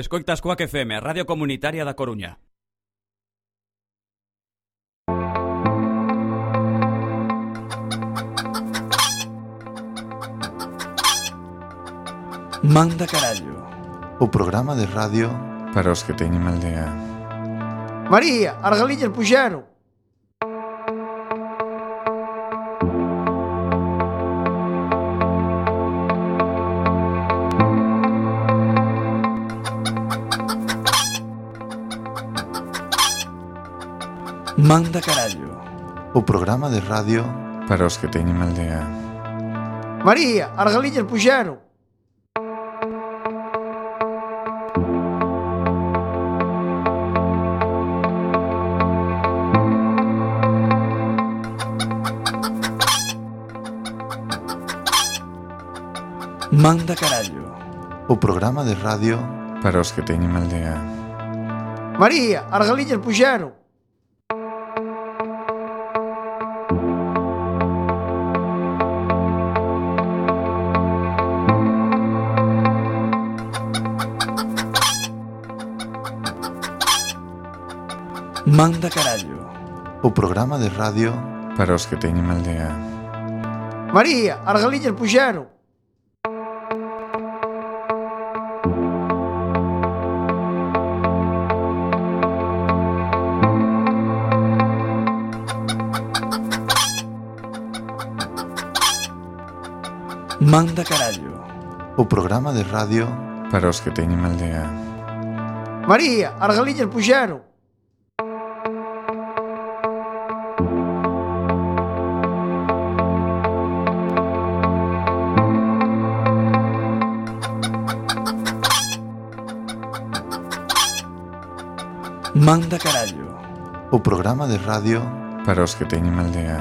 Escoitas Coac FM, a Radio Comunitaria da Coruña. Manda carallo. O programa de radio Para os que teñen mal día. María, as galiñas puxeron. Manda carallo. o programa de radio Para os que teñen mal día. María, as galiñas puxeron. Manda carallo. o programa de radio Para os que teñen mal día. María, as galiñas puxeron. Manda carallo. o programa de radio Para os que teñen mal día. María, as galiñas puxeron. Manda carallo. o programa de radio Para os que teñen mal día. María, as galiñas puxeron. Manda carallo. o programa de radio Para os que teñen mal día.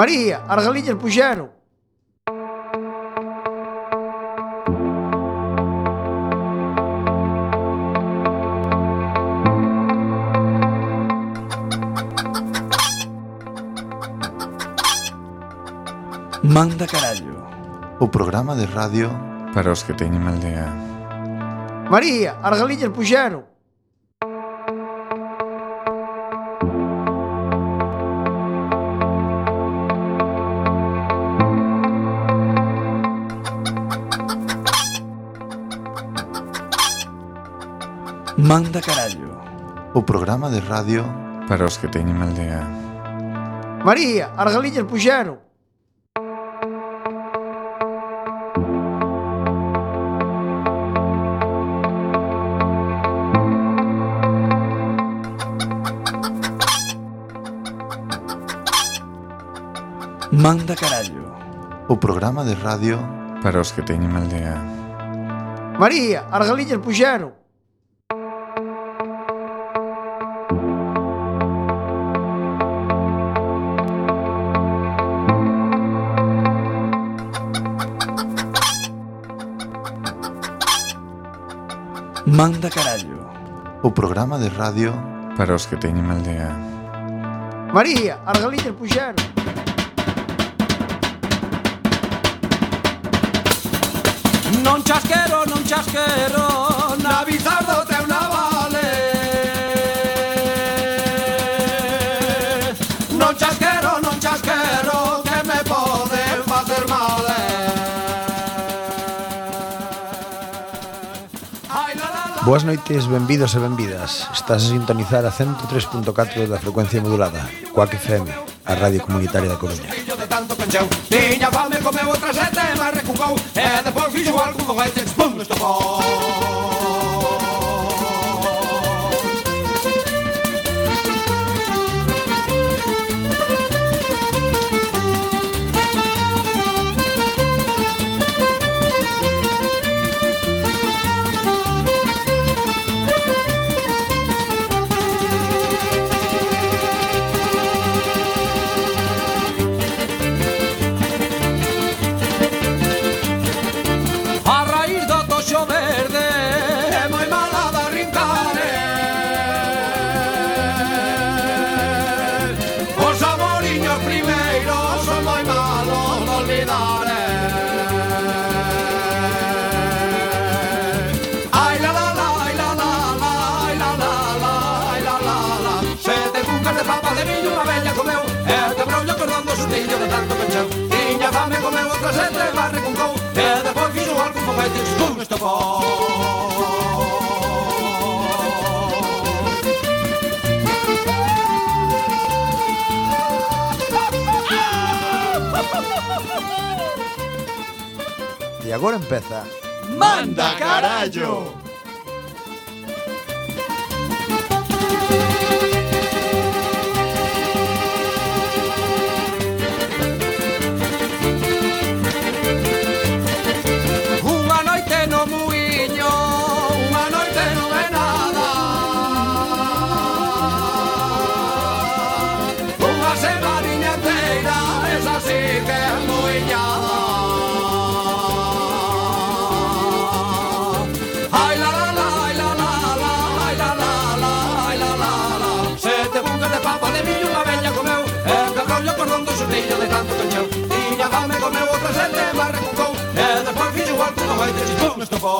María, as galiñas puxeron. Manda carallo. o programa de radio Para os que teñen mal día. María, as galiñas puxeron. Manda carallo. o programa de radio Para os que teñen mal día. María, as galiñas puxeron. Manda carallo. o programa de radio Para os que teñen mal día. María, as galiñas puxeron. Manda carallo. o programa de radio Para os que teñen mal día. María, as galiñas puxeron. Non chasquero, non chasquero, na bizardo te una vale. Non chasquero, non chasquero, que me pode facer mal. eh. Ai, la, la, la. Boas noites, benvidos e benvidas. Estás a sintonizar a 103.4 da frecuencia modulada, Coac FM, a radio comunitaria da Coruña. Fillo de tanto pencheu Tiña fame, comeu outra sete, mas recucou E depois fixo algún foguete, pum, estopou A raíz do toxo verde traseta e barra con gol E depois fixo gol con foguete Estou neste pó E agora empeza Manda carallo Unha noite no muiño Unha noite non é nada Unha semaninha inteira Esa sí que é muiñada Ai la la la, ai la la la, ai la la la, ai la la la. Sete bucas de papa de millo unha vella comeu, e que rollo con rondo sortilla de tanto cañeu. Tiña fame comeu outra sete, mas recucou, e despois fixo igual que non vai ter chistón neste pó.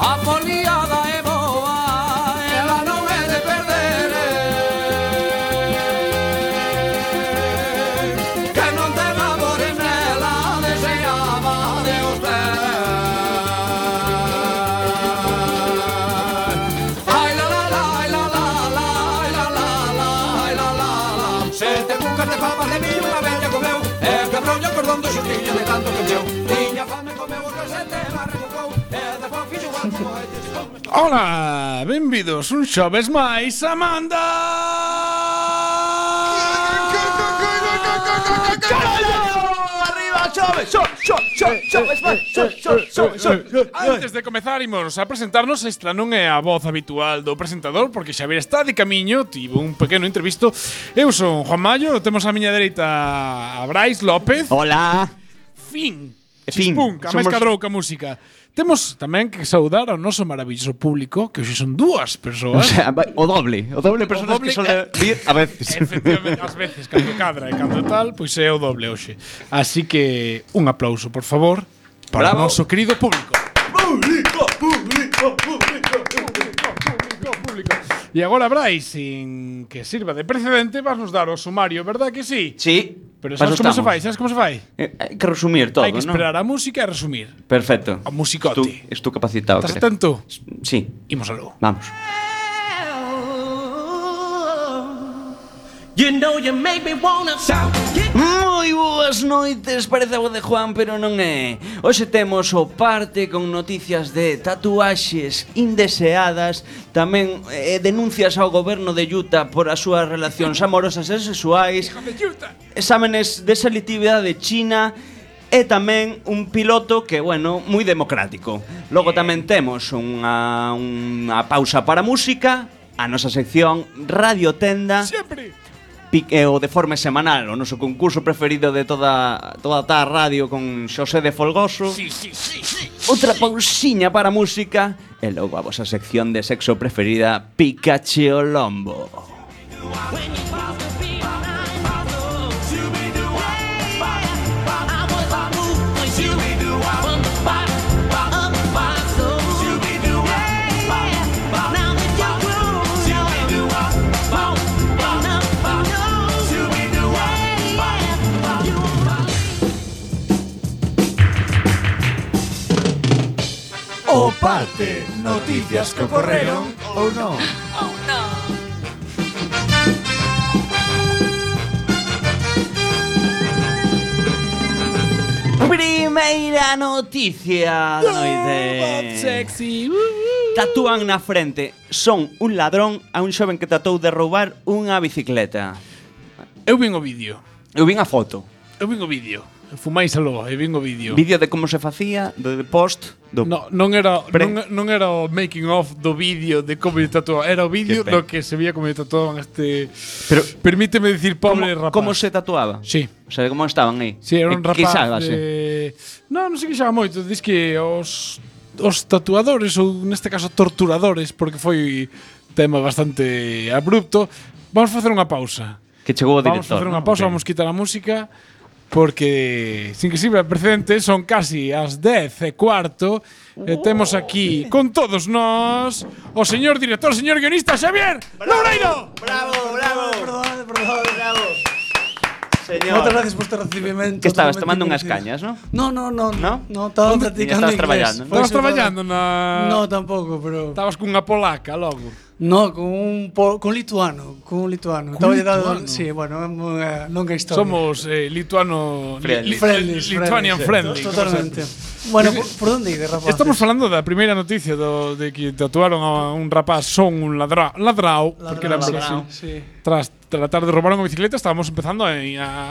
A foliada é boa, ela non é de perder eh. Que non te labores nela, deseaba de usted Ai la la la, ai la la la, ai la la la, ai la la la Sete cucas de papas de millo unha vella comeu E quebrou o cordón do xurtiño de tanto que meu Tiña fame comeu o casete, barra cucou E despois fixo igual como a este xistón Ola, benvidos un xoves máis a Manda Antes de comezar, imos a presentarnos Esta non é a voz habitual do presentador Porque Xavier está de camiño Tivo un pequeno entrevisto Eu son Juan Mayo Temos a miña dereita a Brais López Hola. Eh, Fin. Fin. Chispún, que a máis Somos- cadrou que a música. Temos tamén que saudar ao noso maravilloso público, que hoxe son dúas O, persoas. sea, vai- o doble, o doble personas doble que suele vir a veces. Efectivamente, ás veces, cando cadra e cando tal, pois é o doble hoxe. Así que, un aplauso, por favor, para o Bravo. noso querido público. Público, público, público. E agora, Brais, sin que sirva de precedente, vas nos dar o sumario, verdad que sí? Sí. Pero paso sabes como se estamos. fai? Sabes como se fai? Eh, Hai que resumir todo, Hai que ¿no? esperar a música e resumir. Perfecto. A musicote. Tú, estou capacitado. Estás creo. atento? Sí, Imos aló. vamos. Moi boas noites, parece a voz de Juan, pero non é. Hoxe temos o parte con noticias de tatuaxes indeseadas, tamén eh, denuncias ao goberno de Utah por as súas relacións amorosas e sexuais, exámenes de selectividade de China e tamén un piloto que, bueno, moi democrático. Logo tamén temos unha, unha pausa para música, a nosa sección Radio Tenda Sempre. piqueo de forma semanal, o noso concurso preferido de toda toda ta radio con Xosé de Folgoso. Sí, sí, sí, sí. Outra pausiña para a música e logo a vosa sección de sexo preferida, Pikachu Lombo. O parte, noticias que ocorreron ou non. Primeira noticia da Oh, noite. Sexy. Tatúan na frente. Son un ladrón a un xoven que tratou de roubar unha bicicleta. Eu vin o vídeo. Eu vin a foto. Eu vin o vídeo. Fumáiselo e vin o vídeo. Vídeo de como se facía, de post, do No, non era Pre. non, non era o making of do vídeo de como lle tatuaban, era o vídeo Que pe- do que se veía como lle tatuaban este Pero- Permíteme dicir pobre rapaz. como, como se tatuaba? Sí. O sea, como estaban aí? Sí, era un Eh, rapaz Quixábase. de... No, non se quixaba moito Diz que os, os tatuadores Ou neste caso torturadores Porque foi tema bastante abrupto Vamos facer unha pausa Que chegou o Vamos director. facer unha ¿no? pausa, Ok. vamos quitar a música Porque, sin que sirva precedente, son casi as 10 e cuarto e Oh. Temos aquí, con todos nós O señor director, señor guionista, Xavier Loureiro Bravo, bravo. Perdón, perdón. Señor. Muchas gracias por este recibimiento. Que estabas totalmente tomando unhas merecido. cañas, ¿no? No, no, no. ¿No? No, estaba ¿Dónde? practicando Estabas inglés. traballando, Por ¿no? Estabas eso estaba- traballando na... No, tampoco, pero... Estabas cunha polaca logo No, con un po- con lituano, con un lituano. Cun Estaba llegado, lituano? sí, bueno, é unha longa historia. Somos eh, lituano Friendly. li- li- friendly, Lituanian friendly. como Totalmente. se- Bueno, por, por onde ide, rapaz? Estamos falando da primeira noticia do, de que tatuaron a un rapaz son un ladra, ladrao, porque era Ladrao, así. sí. Tras tratar de robar unha bicicleta estábamos empezando a,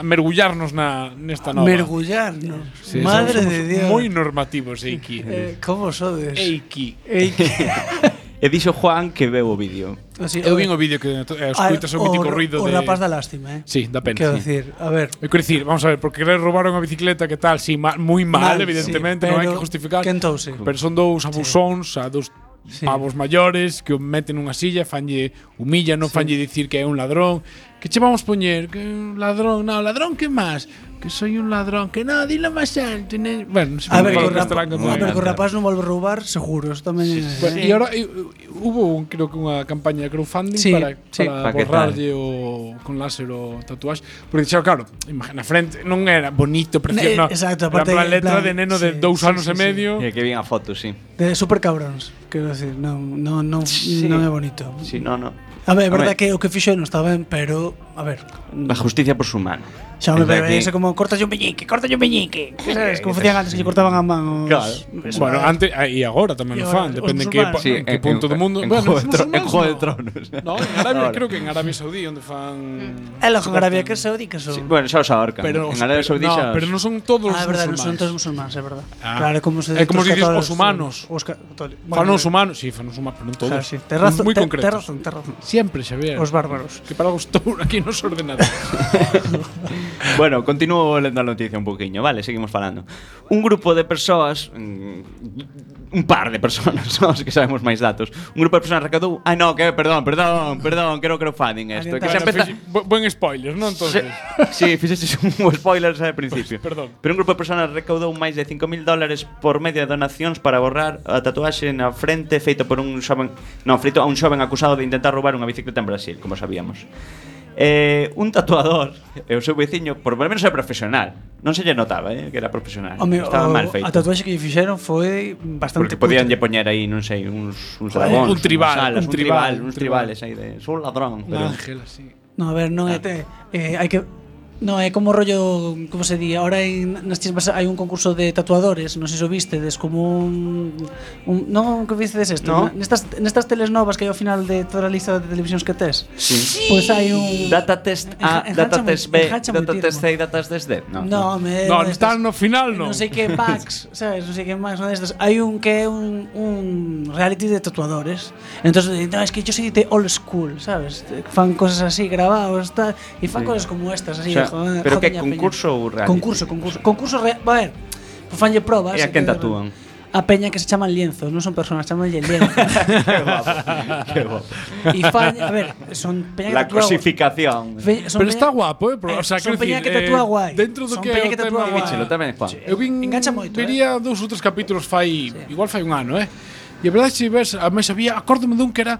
a mergullarnos na, nesta nova. Mergullarnos. Sí, Madre somos de Dios. Moi normativos, Eiki. Eh, como sodes? Eiki. Ei, que- E dixo Juan que veu o vídeo. Así, a Eu ver, vin o vídeo que eh, a- escuitas o o- mítico ruido o de... rapaz da lástima, eh? Sí, da pena. Quero sí. decir, a ver, Eu quero dicir, vamos a ver, porque querer robar unha bicicleta que tal, sí, ma, moi mal, Mal, evidentemente, sí, non hai pero que justificar. quentouse. Pero son dous abusóns, a dous Sí. pavos maiores que o meten nunha silla, fanlle humilla, non fanlle dicir que é un ladrón. Que che vamos poñer? Que é un ladrón, non, ladrón que máis? Que soy un ladrón, que non, dilo máis alto. ne- Bueno, non sei a ver, como que o falo castelán, rapaz, a que non ver, é. que o rapaz non volve a roubar, seguro, eso ¿eh? tamén é- Bueno, E agora e, e, hubo un, creo que unha campaña de crowdfunding Sí, para, sí. para Pa que borrarlle o con láser o tatuaxe, porque xa claro, imagina frente, non era bonito, Eh, precioso, no, exacto, era aparte, en plan en letra plan, de neno de sí, dous sí, anos sí, sí. e medio. E que bien a foto, sí. de super cabróns, quero decir, non, non, non, Sí. non é bonito. Sí, no, no. A ver, é verdade que Home. o que fixo non está ben, pero a ver, A justicia por su mano. xa me Desde aquí. parece como cortas un peñique, cortas un peñique. Que Sabes, como facían antes que lle cortaban a man os Claro. pues, Bueno, antes e agora E tamén o agora, fan, os depende en que, musulmanes. pa- en que punto do mundo. En, bueno, Juego os de Tro- en musulmanes Juego de no. Tronos. No, en Arabia, Ahora. creo que en Arabia Saudí, onde fan... É logo Arabia que Saudí que son. Sí, bueno, xa os ahorcan. Pero, en Arabia Saudí no, xa os- pero non son todos Ah, é verdade, non son todos musulmanes. musulmanes, é verdade. Ah. Claro, é como se É como os dices, católicos- os humanos. Os católicos. Fan os humanos, sí, fan os humanos, pero non todos. Claro, sí. Te razón, Moi te, concretos. te razón, te razón. Siempre, Xavier. Os bárbaros. Que para gustou aquí nos ordenadores. Bueno, continúo lendo a noticia un poquinho, vale, seguimos falando. Un grupo de persoas, mm, un par de persoas, son os que sabemos máis datos. Un grupo de persoas recadou, ah no, que perdón, perdón, perdón, que era o crowdfunding esto, que xa Bueno, empeza, fixi- bu- Buen spoiler, non Se, entonces. sí, fixeches un spoiler xa de principio. Pues, perdón. Pero un grupo de personas recaudou máis de 5.000 dólares por medio de donacións para borrar a tatuaxe na frente feito por un xoven, non, feito a un xoven acusado de intentar roubar unha bicicleta en Brasil, como sabíamos. Eh, un tatuador e o seu veciño, por lo menos é profesional. Non se lle notaba, eh, que era profesional. Home, o- Estaba mal feito. A tatuaxe que lle fixeron foi bastante Porque podían lle cutre. poñer aí, non sei, uns, uns Joder, dragóns, un tribal, unhas alas, un un tribal, tribal, un tribal. uns Ah. tribales aí de, sou un ladrón, Un pero ángel así. No, a ver, non é te- eh, hai que No, é como rollo, como se di, ahora en, nas chismas hai un concurso de tatuadores, non sei se o vistedes, como un, un non que vistedes isto, No. nestas nestas teles novas que hai ao final de toda a lista de televisións que tes. Sí. Pois hai un Data test A, Enja- enhancha data test moi- B, enhancha data moitísimo. test C e data test D. No, No, me No, están no final, non. Non sei que Max, sabes, non sei que Max, non destes. Hai un que é un, un reality de tatuadores. Entonces, di, no, es que yo soy de old school, sabes? Fan cosas así grabados, tal, y fan cosas como estas, así. O sea, joder, pero joder, que ña concurso peña. ou reality? Concurso, concurso. Concurso real, a ver. Pues fanlle probas. E e a quen que- tatúan? A peña que se chaman lienzos, non son personas, chamanlle lienzos. Qué guapo. e fan, a ver, son peña que La tatúa- cosificación. fe- son Pero está peña- guapo, eh, bro. Eh, O sea, son quero peña dicir, que tatúa eh, guai. dentro do Son que é peña o que tatúa tema- guai. Fíchelo tamén, Juan. Eu vin Engancha moito, ¿eh? Vería dous ou tres capítulos fai igual fai un ano, eh. E a verdade se ves, a máis había, acórdome dun que era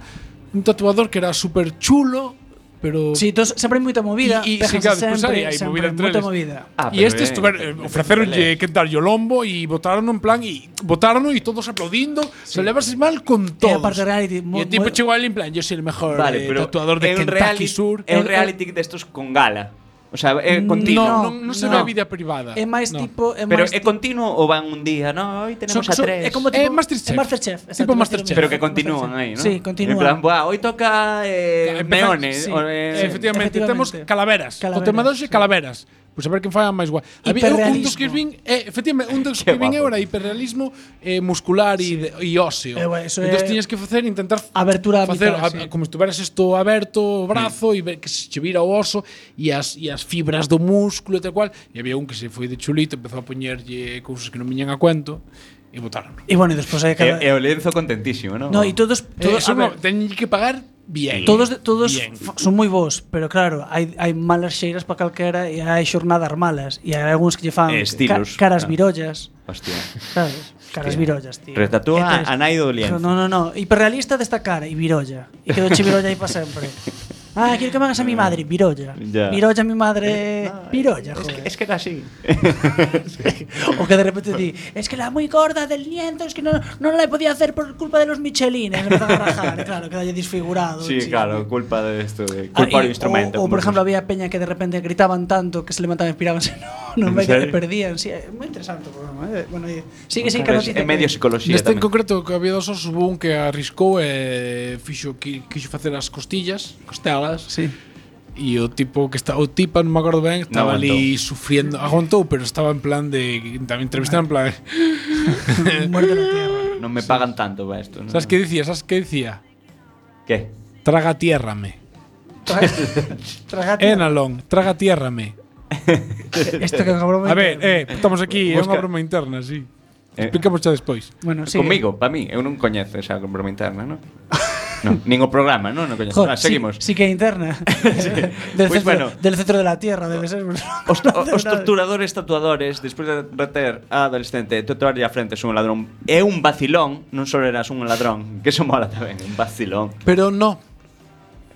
un tatuador que era super chulo, pero Sí, tos, sempre hai moita movida, Y- y- y, sí, sí, claro, despois sempre, hai- hai sempre, movida entre moita eles. movida. Ah, e pero este ben, estuver, ben, ofrecerlle ben. que darlle o lombo e votaron en plan e votaron e todos aplaudindo, se levase mal con todos. aparte reality, mo- e o tipo mo- chegou ali en plan, yo soy el mejor Vale, eh, pero tatuador de é un Kentucky reality, Sur. É un reality destos con gala. O sea, é continuo. No, non- non se ve a vida privada. É máis Ah, No. tipo, é pero máis é continuo ou van un día, no, hoy Son- tenemos a son- é tres. como É tipo É Masterchef. Masterchef, exacto, Tipo Masterchef. pero que continúan aí, Masterchef. Sí, ¿no? continúan. En plan, buah, hoy toca eh, Empezar- meones. sí, o, Eh, eh, sí. efectivamente, temos Efectivamente. calaveras. O tema Calaveras, de hoxe, calaveras. Pois a ver quen fai a máis guai. Había un Hiperrealismo. dos que vin, eh, efectivamente, un dos que vin guapo. eu era hiperrealismo eh, muscular e sí. óseo. Eh, bueno, eso Entón é- tiñas que facer intentar Abertura facer vital, sí. a- como estuveras isto aberto o brazo e ver que se che vira o oso e as, e as fibras do músculo e tal cual e había un que se foi de chulito empezou a poñerlle cousas que non viñan a cuento e botaron E bueno, e despois hai cada... E, e o Lenzo contentísimo, non? no, e Eh, todos, todos, Eh, eso a ver, no, teñen que pagar bien Todos de- todos Bien. fa- son moi bons, pero claro, hai hai malas xeiras para calquera e hai xornadas malas e hai algúns que lle fan E estilos, ca- caras claro. virollas, Hostia. sabes? Caras Hostia. virollas, tío. Retatúa E a Nai do Lienzo. No, no, no, hiperrealista desta cara e virolla. E quedo che virolla aí para sempre. Ah, quero que me hagas a mi madre, virolla. Ya. Eh, Virolla a mi madre, virolla, Es joder. que, es que era así. O que de repente di, es que la muy gorda del lienzo, es que no, no la podía hacer por culpa de los michelines. Empezaba a rajar, claro, queda desfigurado. Sí, chico. claro, culpa de esto, de Ah, culpa y- do instrumento. O, o, por como ejemplo, se- había peña que de repente gritaban tanto que se levantaban y piraban. No, ¿En no, que serio? perdían. Sí, es muy interesante el programa. eh. Bueno, y- sigue, sigue. que Pero es- noticia en medio que- psicología Neste en tamén. concreto que había dos osos hubo un que arriscou e fixo qui- quixo facer as costillas, costelas, Sí. E o tipo que está o tipa, non me acordo ben, estaba aguantou. ali sufriendo, aguantou, pero estaba en plan de tamén entrevistaron en plan. Muerte en la tierra. Non me pagan tanto para esto. ¿no? Sabes que dicía? Sabes que dicía? Que? Traga tiérrame. Eh, Tragate. Enalón, traga tiérrame. Esto que cabrón. A ver, eh, estamos aquí, é unha Busca- broma interna, sí. Eh. Explicamos xa despois. Bueno, sigue. Conmigo, para mí, eu non coñezo esa broma interna, non? non, nin o programa, non, non coñezo. Joder, Ah, seguimos. Sí, sí que é interna. del, Pois centro, bueno. del centro de la tierra, debe ser. Os, No o- os hace nada. torturadores tatuadores Despois de reter a adolescente Tatuarlle a frente son un ladrón É un vacilón, non só eras un ladrón Que eso mola tamén, un vacilón Pero no,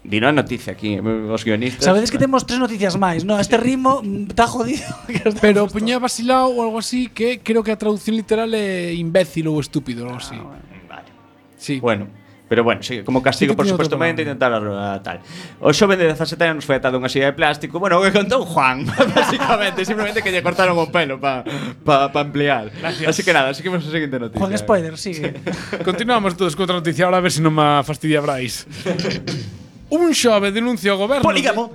Dino a noticia aquí, eh, os guionistas Sabedes que temos tres noticias máis, no? A Este ritmo mm, está jodido. que os pero damos puña vacilado ou algo así que creo que a traducción literal é imbécil ou estúpido, algo así. Vale. Sí. Ah, Bueno, pero bueno, sí, como Sí castigo, que por tiña outro supuestamente, programa. intentar a, tal. O xoven de 17 anos foi atado a unha silla de plástico. Bueno, o que contou Juan, basicamente, simplemente que lle cortaron o pelo para pa, pa ampliar. Así que nada, seguimos a seguinte noticia. Juan Spider, sigue. Continuamos todos con outra noticia, ahora a ver se non me fastidia Brais. Un xove denuncia ao goberno Polígamo.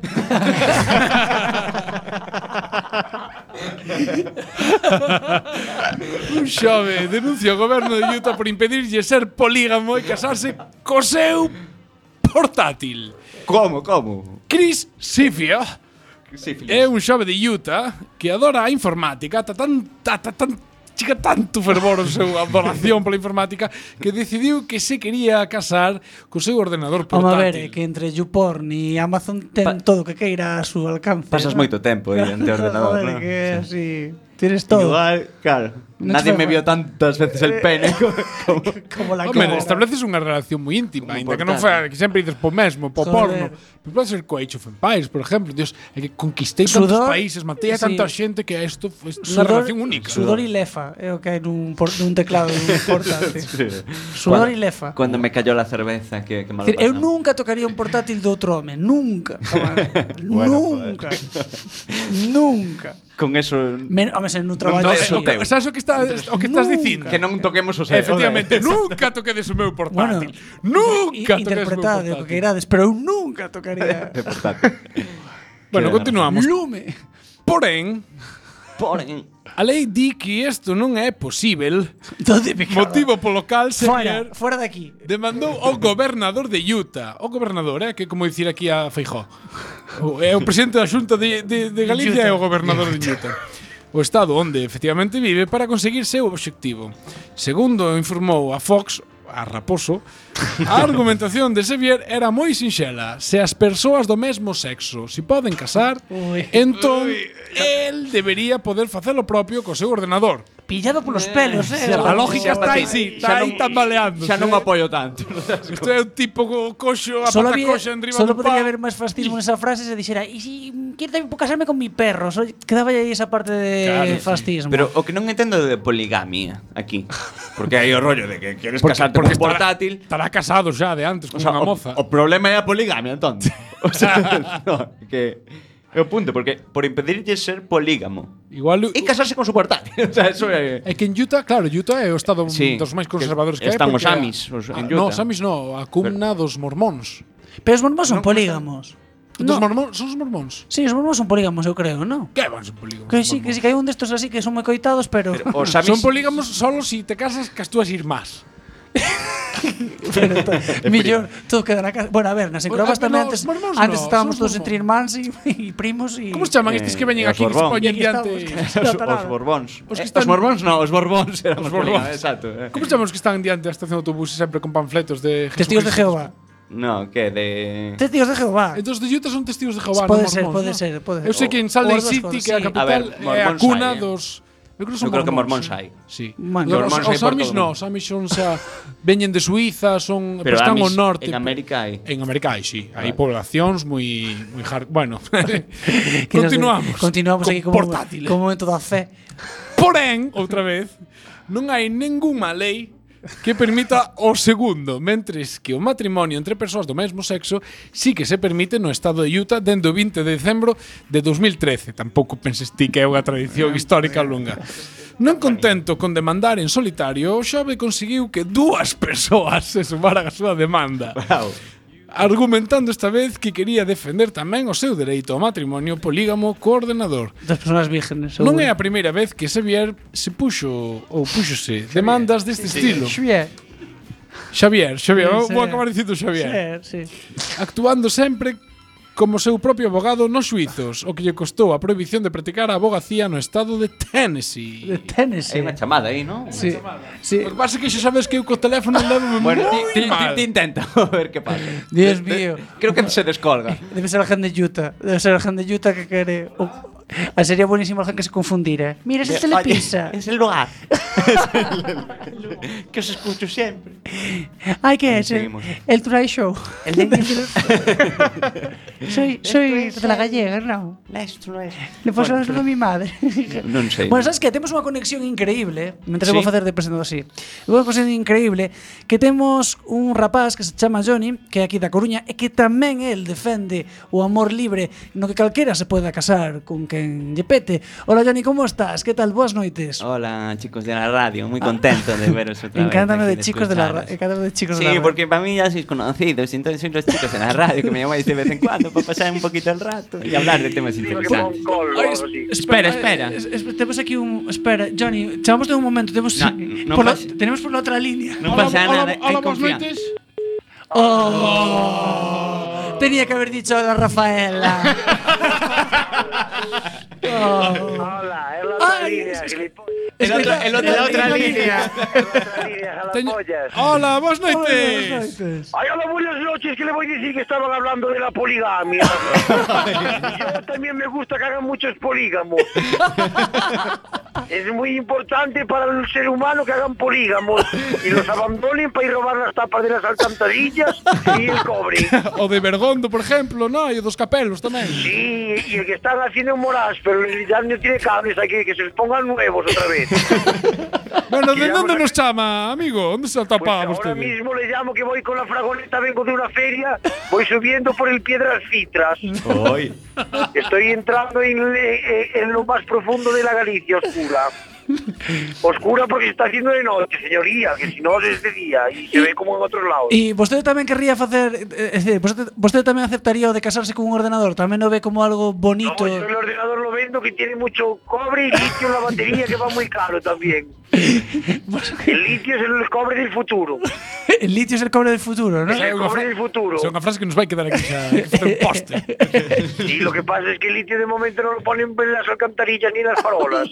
Un xove denuncia o goberno de Utah por impedirlle ser polígamo e casarse co seu portátil. Como, como? Chris Sifia Sífilis. é un xove de Utah que adora a informática, ata tan, ata tan chica tanto fervor o seu adoración pola informática que decidiu que se quería casar co seu ordenador Vamos a portátil. ver, eh, que entre YouPorn e Amazon ten Pa- todo o que queira a su alcance. Pasas ¿no? moito tempo aí ante o ordenador, Joder, non? que así... Tienes todo. Igual, claro. No nadie te me fue- vio tantas veces el pene como, como- Como la Home, cobra. estableces unha relación moi íntima, Como ainda que non foi, que sempre dices po mesmo, po Joder. porno. Pero pode ser co Age of Empires, por exemplo, Dios, é que conquistei tantos Sudor, países, matei a sí. tanta xente que isto foi unha relación única. Sudor e lefa é o que hai nun, por, nun teclado dun portátil. Sudor e lefa. Cuando me cayó la cerveza, que, que mal Decir, eu pasamos. nunca tocaría un portátil de outro home, nunca. jamás. nunca. nunca. Con eso... Men, home, se nun traballo No, Eso eh, teu. Sabes o que está o que estás Nunca. dicindo? Que non toquemos o seu. Efectivamente, nunca toquedes o meu portátil. Bueno, i- nunca toquedes o meu interpretade o que portátil. queirades, pero eu nunca tocaría. De portátil. Bueno, continuamos. Lume. Porén, Porén. a lei di que isto non é posível, Donde me cago? motivo polo cal Fuera, señor fuera de aquí. demandou ao gobernador de Utah. O gobernador, eh, que é como dicir aquí a Feijó. O, é o presidente da Xunta de, de, de Utah. Galicia é o gobernador de Utah. O estado onde efectivamente vive para conseguir seu obxectivo. Segundo informou a Fox, a Raposo, a argumentación de Xavier era moi sinxela. Se as persoas do mesmo sexo se poden casar, Ui. entón el debería poder facer o propio co seu ordenador. Pillado polos pelos, eh. A lógica está aí, sí, está aí tambaleando. Xa non apoio tanto. Isto é un tipo co- coxo, a Solo, pata había, coxa en riba solo dun podría pau. haber más fascismo en esa frase si se dijera, y si quiero también casarme con mi perro. Solo quedaba ahí esa parte de Claro, sí. fascismo. Pero o que non entendo de poligamia aquí. Porque hai o rollo de que quieres Porque- casarte porque con un estará- portátil. Estará casado xa de antes con O sea, unha o, moza. o problema é a poligamia, entón. O sea, no, que é o punto, porque por impedirlle ser polígamo Igual e casarse con su portátil. O sea, eso é É que en Utah, claro, Utah é o estado Sí, dos máis que conservadores que, están hai. os porque Amis, os- a- en No, Utah. os Amis no, a cumna dos mormóns. Pero os mormos son polígamos. Dos mormón- son os mormóns? Sí, os mormóns son polígamos, eu creo, non? Que van son polígamos? Que sí, que sí, que hai un destos así que son moi coitados, pero... Son polígamos solo si te casas cas túas irmás. Millón, todo queda na casa. Bueno, a ver, nas encrobas Bueno, tamén no, antes, os mormóns antes no, estábamos son os todos entre irmáns e, e primos e... Como se Eh, chaman estes que veñen aquí que se poñen diante? Os borbóns. Os que Eh, están- Os borbóns, no, os borbóns. eran Os Os borbóns. borbóns, exacto. eh. Como se chaman os que están diante da estación de autobús sempre con panfletos de Testigos de Jesucristo? Jehová. No, que de... Testigos de Jehová. Entón, de Utah son testigos de Jehová, Pode non ser, mormóns, pode non? ser, pode ser. Eu sei que en O- Salt Lake o os dos City, cos- que é a sí. capital, A ver, é a mormóns cuna hai, eh. dos... Eu creo, Eu creo que mormóns hai. hai. Sí. Bueno. Los, Mormóns hai os por amis todo o no, mundo. os amis son xa veñen de Suiza, son Pero pero están ao amis norte. en América hai. En América hai, sí. Hai poblacións moi moi hard, bueno. Que nos- continuamos. Continuamos Con aquí como, portátiles. como momento da fe. Porén, outra vez, non hai ningunha lei que permita o segundo, mentres que o matrimonio entre persoas do mesmo sexo sí que se permite no estado de Utah dende o 20 de decembro de 2013. Tampouco penses ti que é unha tradición histórica longa. Non contento con demandar en solitario, o xove conseguiu que dúas persoas se sumaran á súa demanda Bravo. argumentando esta vez que quería defender tamén o seu dereito ao matrimonio polígamo coordenador. Das persoas vírgenes. Non é a primeira vez que Xavier se puxo ou puxose demandas deste estilo. Xavier. Xavier, Xavier, Sí, Xavier. vou acabar dicindo Xavier. Xavier, sí. Actuando sempre como seu propio abogado nos suizos, o que lle costou a prohibición de practicar a abogacía no estado de Tennessee. De Tennessee. Hai unha chamada aí, non? Sí. Sí. O que pasa é que xa sabes que eu co teléfono levo moi Bueno, ti, ti, ti, mal. ti intenta a ver que pasa. Dios De- de- mío. Creo que se descolga. Debe ser a gente de Utah. Debe ser a gente de Utah que quere... O, a sería buenísimo alguén que se confundira. Mira, se te le Oye, pisa. Es el lugar. que os escucho siempre. Ay, ¿qué es? El, Seguimos. el Tonight Show. soy soy de la gallega, ¿no? Le pasó Bueno, el nombre a mi madre. Non sei. Bueno, sabes que temos unha conexión increíble ¿eh? Mentre Sí. sí. vou facer de presentador así Vou facer increíble Que temos un rapaz que se chama Johnny Que é aquí da Coruña E que tamén el defende o amor libre No que calquera se poda casar con quen lle pete Hola Johnny, como estás? Que tal? Boas noites Hola, chicos de la radio. Muy contento de veros otra vez. Encántame aquí, de chicos de la ra- escucharos. encántame de chicos de Sí, la radio. porque para mí ya sois conocidos, entonces sois los chicos de la radio que me llamáis de vez en cuando para pasar un poquito el rato y hablar de temas interesantes. Espera, espera. Es- es- Temos aquí un... Espera, Johnny, chamamos de un momento Temos, No, no por la- pasa. tenemos por la otra línea No pasa nada, hay Hola, boas confianza. noites. Oh, tenía que haber dicho hola Rafaela. Hola, es la otra Ay, línea, es El otro- el otro- la otra línea. Teño- Hola, boas noites. Noites. Ay, hola, buenas noches, que le voy a decir que estaban hablando de la poligamia. Yo también me gusta que hagan muchos polígamos. Es muy importante para el ser humano que hagan polígamos y los abandonen para ir a robar las tapas de las alcantarillas y el cobre. O de Bergondo, por ejemplo, no, e o dos capelos tamén. Sí, y el que están haciendo moras, pero en realidad no tiene cables, hay que que se les pongan nuevos otra vez. Bueno, Y ¿de vamos dónde a- nos llama, amigo? ¿Dónde se Pues tapaba ahora usted? mismo le llamo que voy con la fragoneta, vengo de una feria, voy subiendo por el Piedras Citras. Hoy. Estoy entrando en, le- eh, en lo más profundo de la Galicia oscura. Oscura porque se está haciendo de noche, señoría, que si no es de día y se ve como en otros lados. E vostede tamén querría facer, eh, é dicir, vostede, vostede tamén aceptaría o de casarse con un ordenador, tamén o ve como algo No, bonito. yo el ordenador lo vendo que tiene mucho cobre y litio en la batería que va muy caro también. El litio es el cobre del futuro. El litio es el cobre del futuro, ¿no? Es el cobre del futuro. Es una frase que nos va a quedar aquí xa, que facer un póster. Y lo que pasa es que el litio de momento no lo ponen en las alcantarillas ni en las farolas.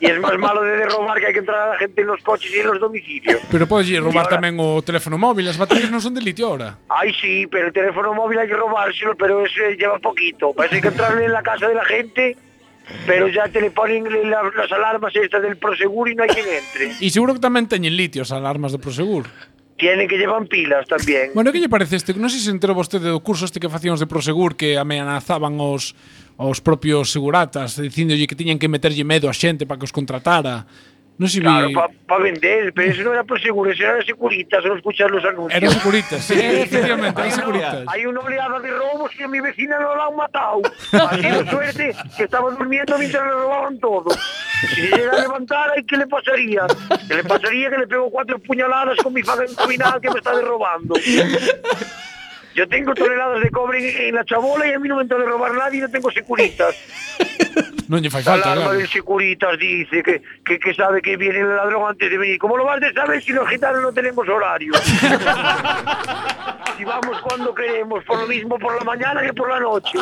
Y es más malo de robar que hay que entrar a la gente en los coches y en los domicilios. Pero podes lle robar Ahora- tamén o teléfono móvil, as baterías non son de litio ahora. Ay, sí, pero el teléfono móvil hay que robárselo, pero eso lleva poquito. Parece que entrarle en la casa de la gente, pero ya te le ponen la- las alarmas estas del proseguro y no hay quien entre. E seguro que tamén teñen litio as alarmas do Prosegur. Tienen que llevan pilas también. Bueno, que lle parece este? Non sei se enterou vostede do curso este que facíamos de Prosegur que amenazaban os os propios seguratas dicíndolle que tiñan que meterlle medo a xente para que os contratara. Non sei Claro, vi- para vender, pero eso no era proseguro, eso era Securitas, no escuchar los anuncios. Era securitas, sí, efectivamente, era securitas. Hay una oleada de robos y a mi vecina no la han matado. Ha sido suerte que estaba durmiendo mientras le robaban todo. Si se llega a levantar, ¿ay, ¿qué le pasaría? Que le pasaría que le pego cuatro puñaladas con mi faga encaminada que me está derrobando. Yo tengo toneladas de cobre en, en la chabola y a mí no me entra de robar nadie y no tengo securitas. No lle fai falta, Alarma claro. del Securitas dice que, que, que sabe que viene el ladrón antes de venir. ¿Cómo lo vas a saber si los gitanos no tenemos horario? si vamos cuando queremos, por lo mismo por la mañana que por la noche.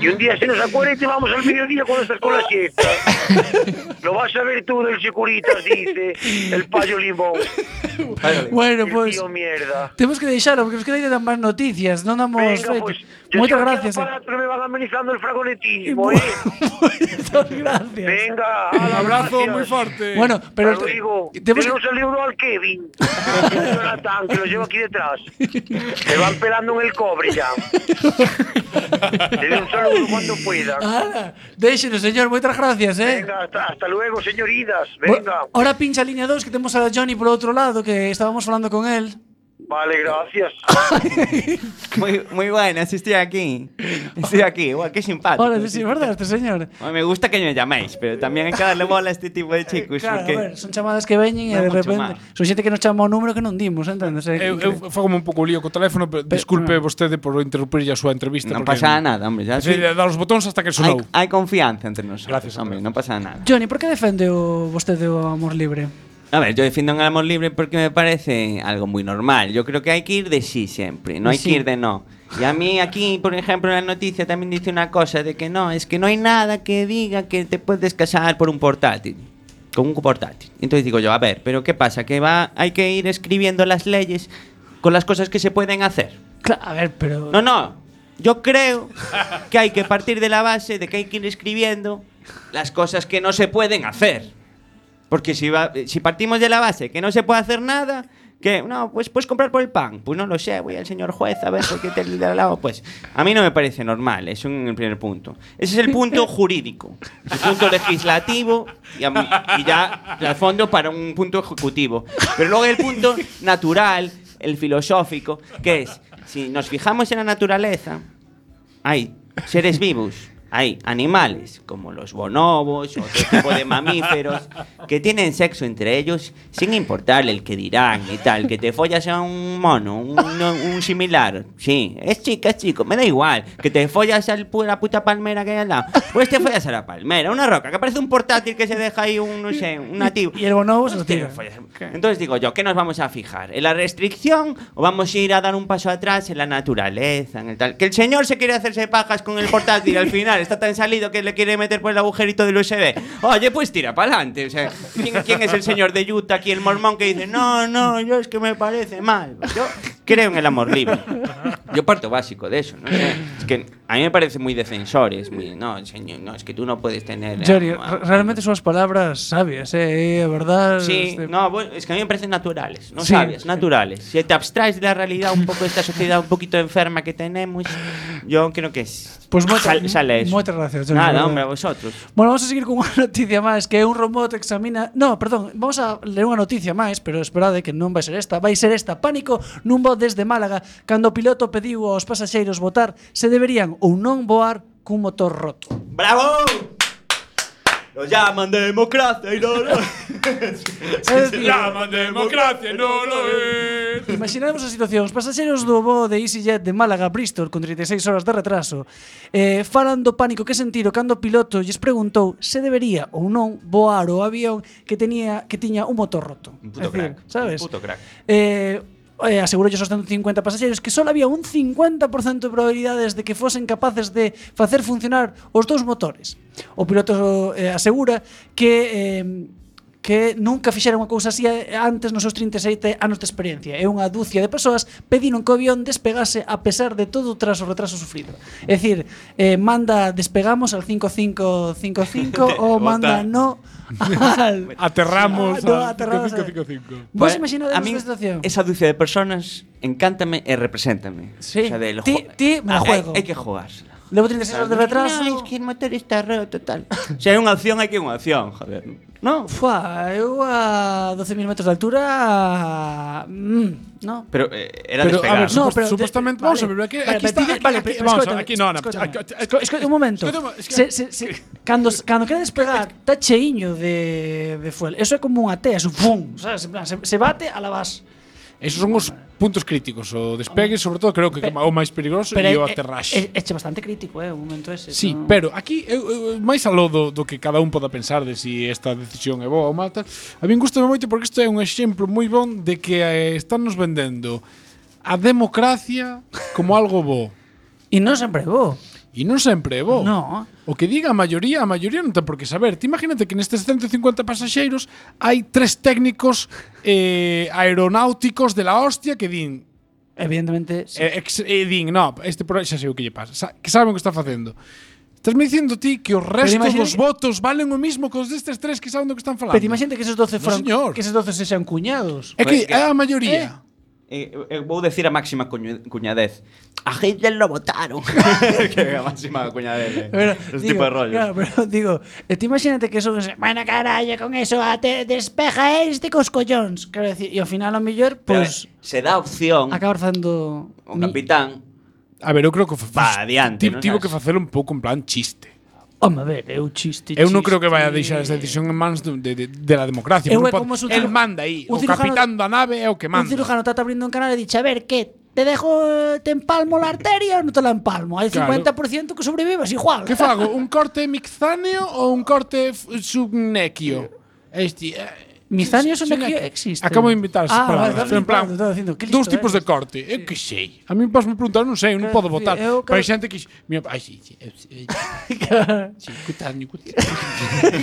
Y un día se nos acuerda y te vamos al mediodía cuando estás con la siesta. Lo vas a ver tú del Securitas, dice el payo limón. Bueno, el pues, Tío mierda. Temos que deixalo, porque nos quedaría dar máis noticias, non damos Venga, feito. pues, yo Moitas eh, sigo aquí gracias. eh. aparato que me van amenizando el fragonetismo, ¿eh? Muchas gracias. Venga, un abrazo muy fuerte. Bueno, pero- Te digo, tenemos tenemos el libro al Kevin. Jonathan, que lo llevo aquí detrás. Me van pelando en el cobre ya. Te doy un saludo cuando pueda. Ala, Déixenos, señor, moitas gracias, Ah, eh. Venga, hasta, hasta luego, señoritas. Bo- Venga. Ahora pincha a línea 2 que temos a Johnny por outro lado que estábamos falando con él. Vale, gracias. Muy, muy buenas, estoy aquí. Estoy aquí, guau, qué simpático. Ahora, Ah, sí, es verdad, este señor. Bueno, Me gusta que me llaméis, pero también hay que darle bola a este tipo de chicos. Claro, porque... a ver, son chamadas que veñen e de Non moito repente máis. son xente que nos chama o número que non dimos, entendes? Eh, Eu, eu fago un pouco lío co teléfono, pero Mm. disculpe vostede por interrumpir a súa entrevista. Non pasa nada, hombre, ya Sí, soy- dar os botóns hasta que Hay, sonou. hay confianza entre nosotros. Gracias, hombre, no pasa nada. Johnny, por que defende o vostede o amor libre? A ver, yo defiendo un amor libre porque me parece algo muy normal. Yo creo que hay que ir de sí siempre, no hay Sí. que ir de no. Y a mí aquí, por ejemplo, en la noticia también dice una cosa de que no, es que no hay nada que diga que te puedes casar por un portátil. Con un portátil. Entonces digo yo, a ver, pero ¿qué pasa? Que va, hay que ir escribiendo las leyes con las cosas que se pueden hacer. Claro, a ver, pero No, no. Yo creo que hay que partir de la base de que hay que ir escribiendo las cosas que no se pueden hacer. Porque si, va- eh, si partimos de la base que no se puede hacer nada, que no, pues puedes comprar por el pan. Pues no lo sé, voy al señor juez a ver por qué te da la Pues a mí no me parece normal, es un, el primer punto. Ese es el punto jurídico, el punto legislativo y, a mí- y ya al fondo para un punto ejecutivo. Pero luego hay el punto natural, el filosófico, que es, si nos fijamos en la naturaleza, hay seres vivos, hay animales como los bonobos, otro tipo de mamíferos, que tienen sexo entre ellos sin importarle el que dirán y tal, que te follas a un mono, un, un similar, sí, es chica, es chico, me da igual, que te follas a la puta palmera que hay al lado, pues te follas a la palmera, una roca, que parece un portátil que se deja ahí un, no sé, un nativo. Y el bonobo se lo tira. pues, Entonces digo yo, ¿qué nos vamos a fijar? ¿En la restricción o vamos a ir a dar un paso atrás en la naturaleza? En el tal? Que el señor se quiere hacerse pajas con el portátil al final, está tan salido que le quiere meter por el agujerito del USB. Oye, pues tira para adelante. O sea, ¿quién, quién es el señor de Utah aquí, el mormón, que dice, no, no, yo es que me parece mal? Yo creo en el amor libre. Yo parto básico de eso, ¿no? sé. Es que a mí me parece muy defensores, muy, no, señor, no, es que tú no puedes tener... eh, Johnny, re- realmente son as palabras sabias, eh, a verdad. Sí, este- no, bueno, es que a mí me parecen naturales, no Sí, sabias, sí. naturales. Si te abstraes de la realidad un poco de esta sociedad un poquito enferma que tenemos, yo creo que es, Pues moita- sal- sale eso. moitas gracias, Johnny, de Nada, verdad. hombre, a vosotros. Bueno, vamos a seguir con unha noticia máis que un robot examina... No, perdón, vamos a ler unha noticia máis, pero esperade que non vai ser esta. Vai ser esta. Pánico nun voo desde Málaga cando o piloto pediu aos pasaxeiros votar se deberían ou non voar cun motor roto. ¡Bravo! Lo llaman democracia y no lo Es decir, Llaman democracia, no lo es. Imaginemos a situación Os pasaxeiros do voo de EasyJet de Málaga a Bristol Con 36 horas de retraso eh, Falan do pánico que sentiron Cando o piloto lles preguntou Se debería ou non voar o avión Que tenía que tiña un motor roto Un puto Es decir, crack, sabes? un puto crack. Eh, eh, asegurollos aos 150 pasaxeiros que só había un 50% de probabilidades de que fosen capaces de facer funcionar os dous motores. O piloto eh, asegura que eh, que nunca fixera unha cousa así eh, antes nos seus 37 anos de experiencia e unha dúcia de persoas pediron que o avión despegase a pesar de todo tras o retraso sufrido. É dicir, eh, manda despegamos al 5555 ou manda no al... Aterramos No, a aterramos a- 5555. Vos Bueno, imaginades a mí esta situación? Esa dulce de personas, encántame y represéntame. Sí. O sea, del Ti- ju- ti me la Ah, hay- juego. Hay, que jugársela. Levo 36 horas de retraso. No, es que el motor está roto, tal. Si hay una opción, hay que una opción, joder. No. Fua, eu a 12.000 metros de altura. mm, no. Pero eh, era Pero, despegar. a ver, ¿no? supos- supostamente, vamos a ver, aquí, vale, aquí está, pero aquí, diga- vale, aquí- pero vamos, escótame, aquí, no, no, escótame. aquí- aquí- Esco- esco- un momento. Escótame, es que- Se- se- se- cando, s- cando queres despegar, está cheiño de, de fuel. Eso é como unha tea, es un fum, sabes? En plan, se, se bate a la base. Esos son os puntos críticos. O despegue, sobre todo, creo que é o máis perigoso Pero e o é- aterraxe. É, é, é bastante crítico, eh, o momento ese. Sí, non? pero aquí eu, eu, máis aló do, do que cada un poda pensar de si esta decisión é boa ou mata, a min gustame moito porque isto é un exemplo moi bon de que eh, nos vendendo a democracia como algo bo. E non sempre é bo. E non sempre é bo. No. O que diga a maioría, a maioría non ten por que saber. Ti imagínate que nestes 150 pasaxeiros hai tres técnicos eh, aeronáuticos de la hostia que din Evidentemente, sí. E, ex, e din, no, este pro, xa sei o que lle pasa. Sa, que saben o que está facendo. Estás me dicindo ti que os restos imagina- dos votos valen o mismo que os destes tres que saben do que están falando. Pero imagínate que esos 12 No, fueran, señor. Eh, que esos 12 se sean cuñados. É que Pues, é a maioría. Eh, eh, vou decir a máxima cuñu- cuñadez. A Hitler lo votaron. que é a máxima cuñadez. eh. Pero, Ese digo, tipo de rollo. Claro, pero digo, eh, te imagínate que son bueno, carallo, con eso a te despeja este cos collóns. Quero decir, e ao final ao mellor, pues, Pero, pois eh, se dá opción acabar facendo o capitán A ver, eu creo que fa- Va, ti- adiante, non tivo que sabes? facelo un pouco en plan chiste. Home, a ver, é un chiste. Eu non creo chiste. que vai a deixar esa decisión en mans do- de, de, de la democracia. Eu Non é pode- como se un ciru- el manda aí. un O cirujano- capitán da nave é o que Un manda. cirujano está abriendo un canal e dice, a ver, que te dejo, eh, te empalmo la arteria ou non te la empalmo? Hai Claro. 50% que sobrevives igual. Que fago? Un corte mixáneo ou un corte f- subnequio? Este, eh, Mizáneo sin- e subnequio sin- existe. Acabo de inventar esas Ah, vale, palabras. estaba Pero en plan, flipando, estaba dicindo, "Qué dos listo tipos de corte. Eu que sei. A mí pasme preguntar, non sei, eu non Claro, podo votar. eh? sí, eu Pero hai creo- xente que... Mira, ai, sí, eh, sí, eu- eu- sí, cutáneo, cutáneo.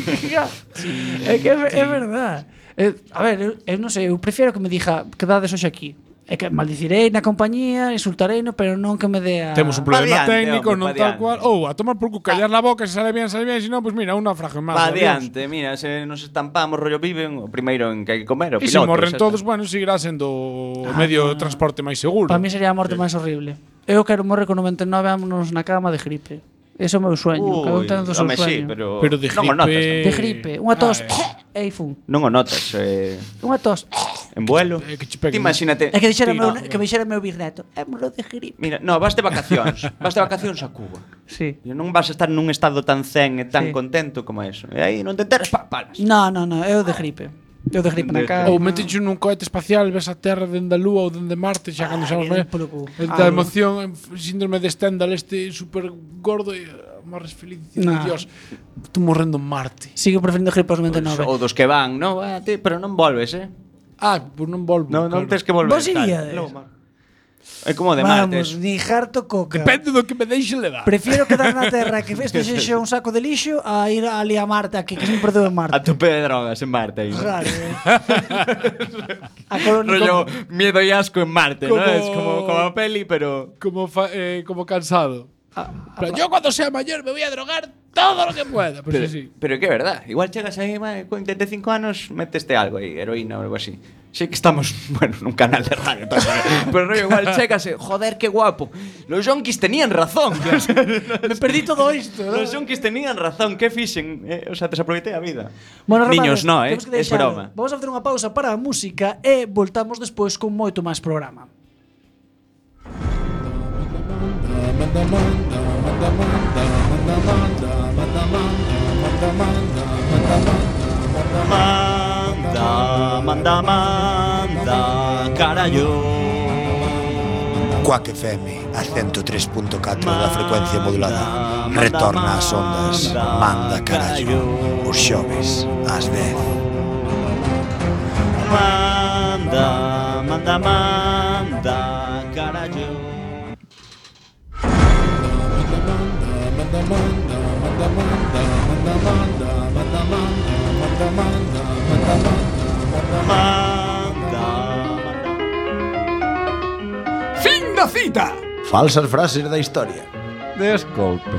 É que é, ver- é verdad. É, a ver, eu, eu non sei, eu prefiero que me dixa quedades hoxe aquí. É que maldicirei na compañía, insultarei, no, pero non que me dea... Ah. Temos un problema técnico, non tal cual. Ou a tomar por cu, callar la boca, se sale bien, sale bien, se non, pois mira, unha frase Ah, máis. Va adiós. adiante, mira, se nos estampamos, rollo viven, o primeiro en que hai que comer, o E se piloto. morren xa todos, bueno, seguirá sendo o medio de transporte máis seguro. Para Ah. mí sería a morte máis horrible. Eu quero morrer con 99 anos na cama de gripe. Ese é o meu sueño. Ui, Cada un ten o seu home, sueño. sí, pero- Pero de Non o notas, gripe- De gripe. Unha tos. e fun. está. Non o notas, eh, Unha tos. en vuelo. Eh, que che Ti peguen. imagínate. É que dixera ti- meu, que me dixera meu birneto. É moro de gripe. Mira, no, vas de vacacións, vas de vacacións a Cuba. Sí. E Non vas a estar nun estado tan zen e Sí. tan contento como eso. E aí non te enteras, pa, paras. No, no, no, eu de gripe. Eu de gripe na De- cama. Ou metenche nun cohete espacial, ves a Terra dende a Lúa ou dende Marte, xa cando xa os me ve. den polo cu. El da Ah, emoción, en f- síndrome de Stendhal, este super gordo e ah, morres feliz. dicindo, Nah. Dios, estou morrendo en Marte. Sigo preferindo gripe aos Ou 99. dos que van, no, ah, ti, pero non volves, eh? Ah, pois non volvo. No, non claro. tens que volver. Vos tal. iríades? Logo, mar. É como de martes. Vamos, ni harto coca. Depende do que me deixe levar. Prefiero quedar na terra que isto sexa un saco de lixo a ir ali a Marte, aquí que se me perdeu en A Marte. tope de drogas en Marte. aí. Claro, eh. a colonia Rollo miedo y asco en Marte, Como- ¿no? Es como, como peli, pero. Como, fa, eh, como cansado. Ah, Pero yo cuando sea mayor me voy a drogar todo lo que pueda. Pues Pero, sí, sí. pero que é verdad. Igual chegas aí, madre, con 35 anos, meteste algo aí, heroína ou algo así. Sí que estamos, bueno, nun canal de radio. tal, pero rollo, igual chegas, e, joder, qué guapo. Los yonkis tenían razón. Me perdí todo isto. ¿no? Los yonkis tenían razón, que fixen. Eh, o sea, desaproveitei a vida. Bueno, Niños, rapazes, no, eh. temos que Es deixar. broma. Vamos a facer unha pausa para a música e voltamos despois con moito máis programa. Manda, manda, manda, carallo. Cuac FM, a 103.4 da frecuencia modulada. Retorna ás ondas, manda carallo, os xoves, ás 10. Manda, manda, manda, carallo. Fin da cita! Falsas frases da historia. Desculpe.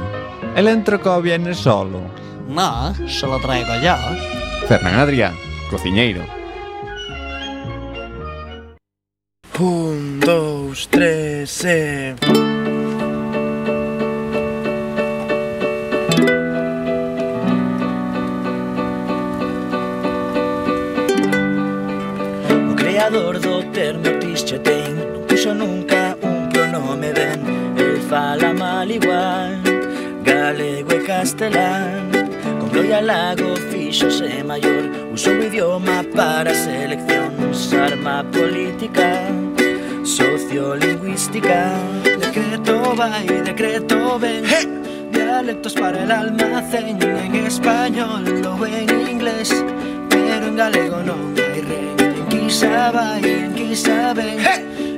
El entrecó viene solo. No, se lo traigo yo. Fernán Adrián, cociñeiro. Un, dos, tres, e... O creador do termo Tischetein non puxo nunca un pronome ben El fala mal igual, galego e castelán Con Gloria Lago fixose maior Usou o idioma para a selección es arma política, sociolingüística. Decreto va y decreto ven. Dialectos para el almacén. En español o en inglés, pero en galego no hay rey. En quizá va y en quizá ven.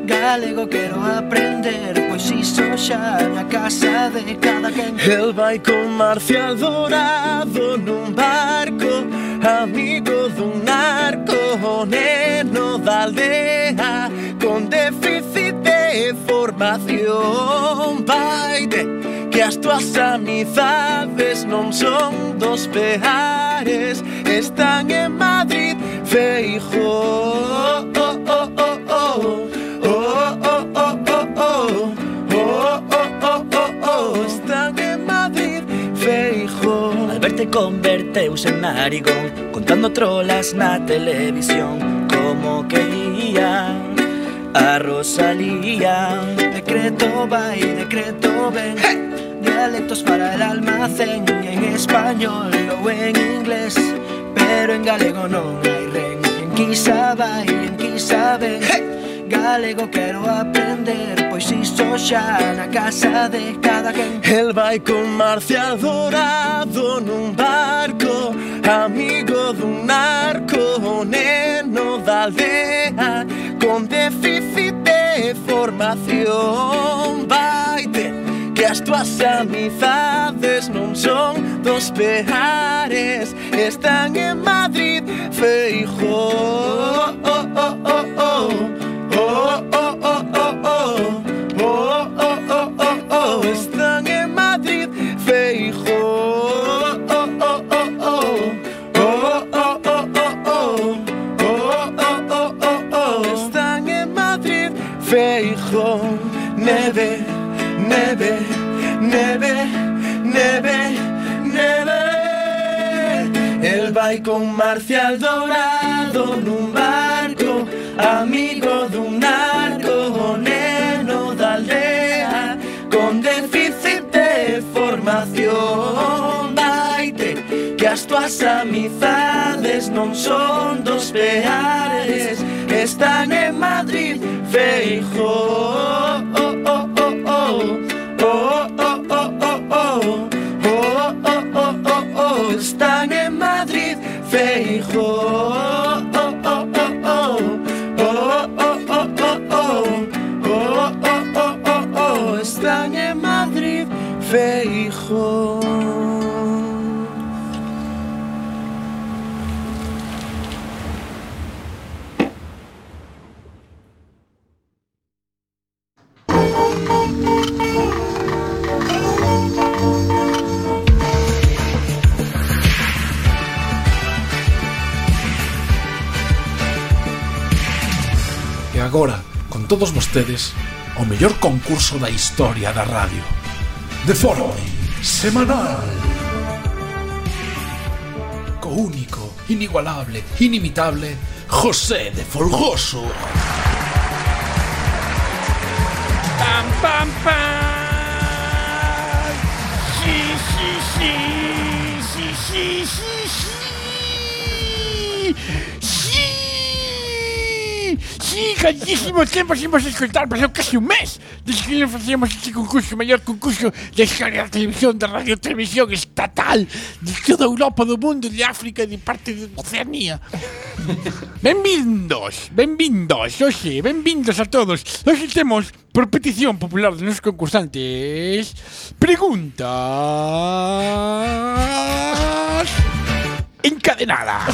Galego quiero aprender, pues pois iso xa na casa de cada quen El vai con Marcial Dorado nun barco Amigo dun narco o neno da aldea Con déficit de formación Vai de que as tuas amizades non son dos peares Están en Madrid, Feijóo oh, oh, oh, oh. Oh, oh, oh, oh, oh. Oh, oh, oh, oh, oh. Están en Madrid, Feijóo Alberte converteuse en narigón Contando trolas na televisión Como quería a Rosalía Decreto va y decreto ven Dialectos para el almacén En español o en inglés Pero en galego non hai ren En quizá vai, en quizá ven Galego quero aprender Pois iso xa na casa de cada quen El vai con Marcial Dorado nun barco Amigo dun narco o neno da aldea Con déficit de formación Vaite que as tuas amizades non son dos peares Están en Madrid, Feijóo oh, oh, oh, oh. Oh, oh, oh, oh, oh. Oh, oh, oh, oh, oh. Están en Madrid, Feijóo. Oh, oh, oh, oh. Oh, oh, oh, oh, oh. Oh, oh, oh, oh, oh. Están en Madrid, Feijóo. Neve, neve, neve, neve, neve. El vai con Marcial Dorado nun barco, amigo dun narco, o neno da aldea, con déficit de formación. Vaite, que as tuas amizades non son dos peares, están en Madrid, Feijóo. Oh, oh, oh, oh. Oh, oh, oh, oh, oh. Oh, oh, oh, oh, oh. Están en Madrid, Feijóo. Oh, oh, oh, oh. Oh, oh, oh, oh, oh. Oh, oh, oh, oh, oh. Están en Madrid, Feijóo. E agora, con todos vostedes, o mellor concurso da historia da radio. De forma semanal. Co único, inigualable, inimitable, José de Folgoso. ¡Pam, pam, pam! ¡Sí, sí, sí! ¡Sí, sí, sí, sí! ¡Sí! ¡Sí! ¡Grandísimo tiempo sin vos escoltar! Pasou casi un mes desde que nos facíamos este concurso, o mellor concurso de historia da televisión, da radio televisión estatal de toda Europa, do mundo, de África e de parte de Oceanía. Benvindos, benvindos, oxe, benvindos a todos. Hoxe temos, por petición popular dos nosos concursantes, preguntas encadenadas.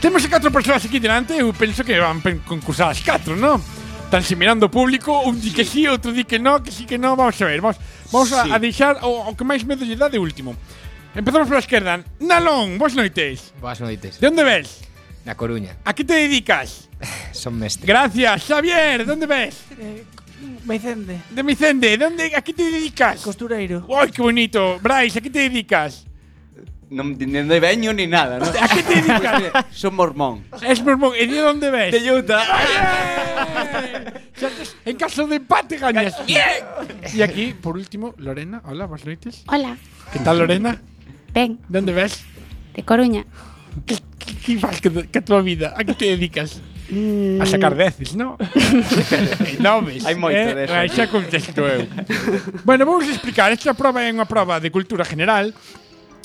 Temos a catro persoas aquí delante, eu penso que van pen- concursar as catro, non? Están se mirando o público, un di que sí, outro di que no, que sí que no, vamos a ver, vamos, vamos Sí. a, a deixar o, o que máis medo lle dá de último. Empezamos pola esquerda. Nalón, boas noites. Boas noites. De onde ves? Na Coruña. A que te dedicas? Son mestre. Gracias, Xavier, de onde ves? Vicente. De Micende, de onde, a que te dedicas? Costureiro. Ai, que bonito. Brais, a que te dedicas? Non nin de veño ni nada, non? A que te dedicas? Son mormón. Es mormón, e de onde ves? De Utah. En caso de empate gañas. Bien. Y aquí, por último, Lorena. Hola, buenas noites. Hola, ¿Qué tal, Lorena? ven, ¿De dónde ves? de Coruña. Que, que, que faz que, que a tua vida? A que te dedicas? A sacar deces, non? Nomes. Hai moito eh? deso. Ai, Xa contexto eu. bueno, vamos explicar. Esta prova é unha prova de cultura general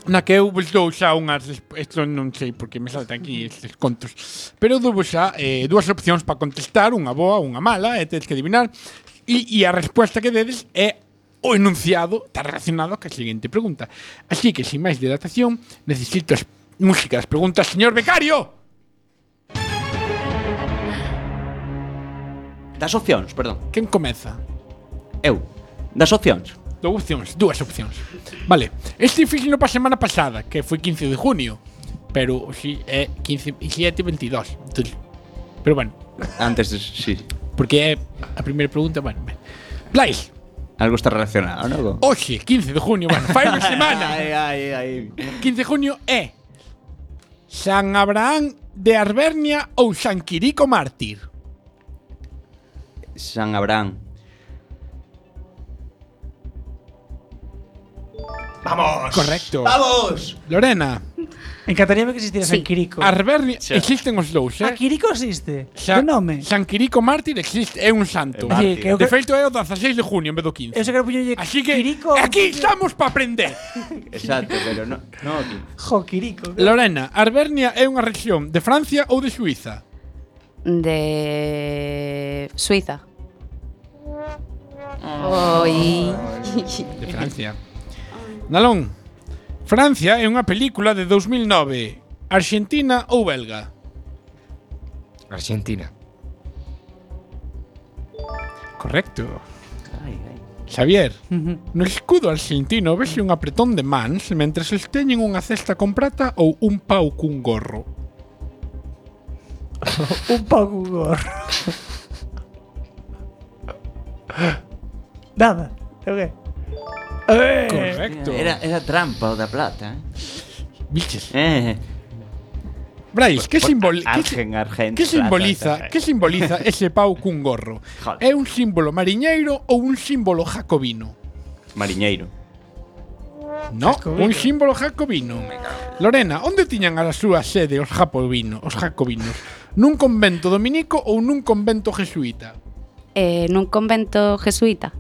na que eu vos dou xa unhas... Isto non sei porque me saltan aquí estes contos. Pero eu dou xa eh, dúas opcións para contestar, unha boa, unha mala, e tedes que adivinar. E, e a resposta que dedes é o enunciado está relacionado ca seguinte pregunta. Así que, sin máis dilatación, necesito as música das preguntas, señor becario. Das opcións, perdón. Quen comeza? Eu. Das opcións. Dou opcións, dúas opcións. Vale, este fixino para a semana pasada, que foi 15 de junio, pero si é 15 e 7 e 22. Entón, Pero bueno, Antes, sí. porque é a primeira pregunta, bueno. ben. Blais, Algo está relacionado, non? hoxe, 15 de junio, bueno, fai unha semana. Ai, ai, ai. 15 de junio é San Abraham de Arvernia ou San Quirico Mártir. San Abraham. Vamos. Correcto. Vamos. Lorena. Encantaríame que existiera San Quirico. Arvernia existen os dous, eh? A Ah, Quirico existe. Xa- Que nome? San Quirico Mártir existe, é un santo. É mártir. Sí, que eu de cre- feito é o 16 de junio en vez do 15. Eu sei que era puñolle Así que aquí estamos para aprender. Exacto, pero no, no aquí. Jo, Quirico. Lorena, Arvernia é unha región de Francia ou de Suiza? De Suiza. Oi. De Francia. Nalón, Francia é unha película de 2009. Argentina ou belga? Argentina. Correcto. Xavier, no escudo argentino vese un apretón de mans mentre sosteñen unha cesta con prata ou un pau cun gorro. Un pouco gorro. Nada. É o qué? Eh. Correcto. Era, era trampa o da plata, eh? Biches. Eh. Brais, que, simbol que si- Argen, Argen, que plata, simboliza, plata. que simboliza ese pau cun gorro? É un símbolo mariñeiro ou un símbolo jacobino? Mariñeiro. No, un símbolo jacobino. Lorena, onde tiñan a súa sede os jacobino, os jacobinos? Nun convento dominico ou nun convento jesuíta? Eh, nun convento jesuíta.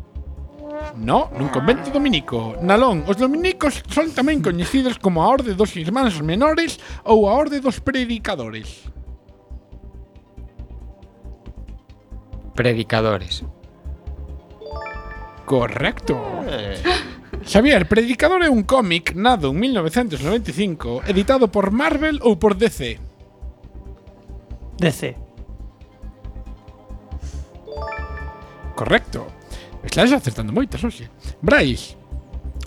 No, nun convento dominico. Nalón, os dominicos son tamén coñecidos como a Orde dos Irmáns Menores ou a Orde dos Predicadores. Predicadores. Correcto. Xavier, Predicador é un cómic nado en 1995, editado por Marvel ou por DC? DC. Correcto. Estás acertando moitas, oxe. Brais,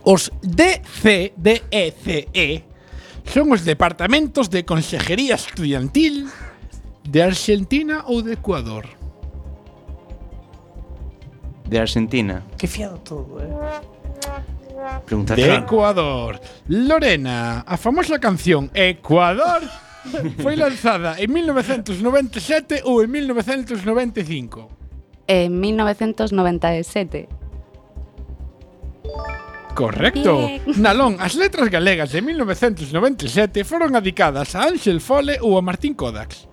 os DC, DECE, son os departamentos de Consejería Estudiantil de Argentina ou de Ecuador? De Argentina. Que fiado todo, eh. Pregunta de trampa. Ecuador. Lorena, a famosa canción Ecuador foi lanzada en 1997 ou en 1995? En 1997. Correcto. Bien. Nalón, as letras galegas de 1997 foron adicadas a Ángel Fole ou a Martín Kodax.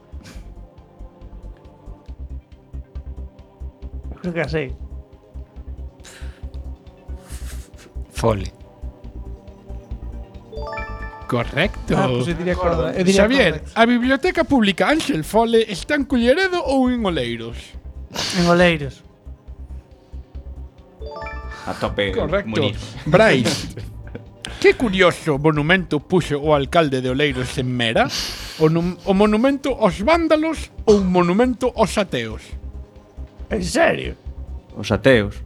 Creo que a sei. Fole. Correcto. Ah, pois eu diría Korda, eu diría Xavier, Kordax. a biblioteca pública Ángel Fole está en Culleredo ou en Oleiros? En Oleiros. A tope. Correcto. Munir. Brais. Que curioso monumento puxo o alcalde de Oleiros en Mera? O, num- o monumento aos vándalos ou un monumento aos ateos? En serio? Os ateos.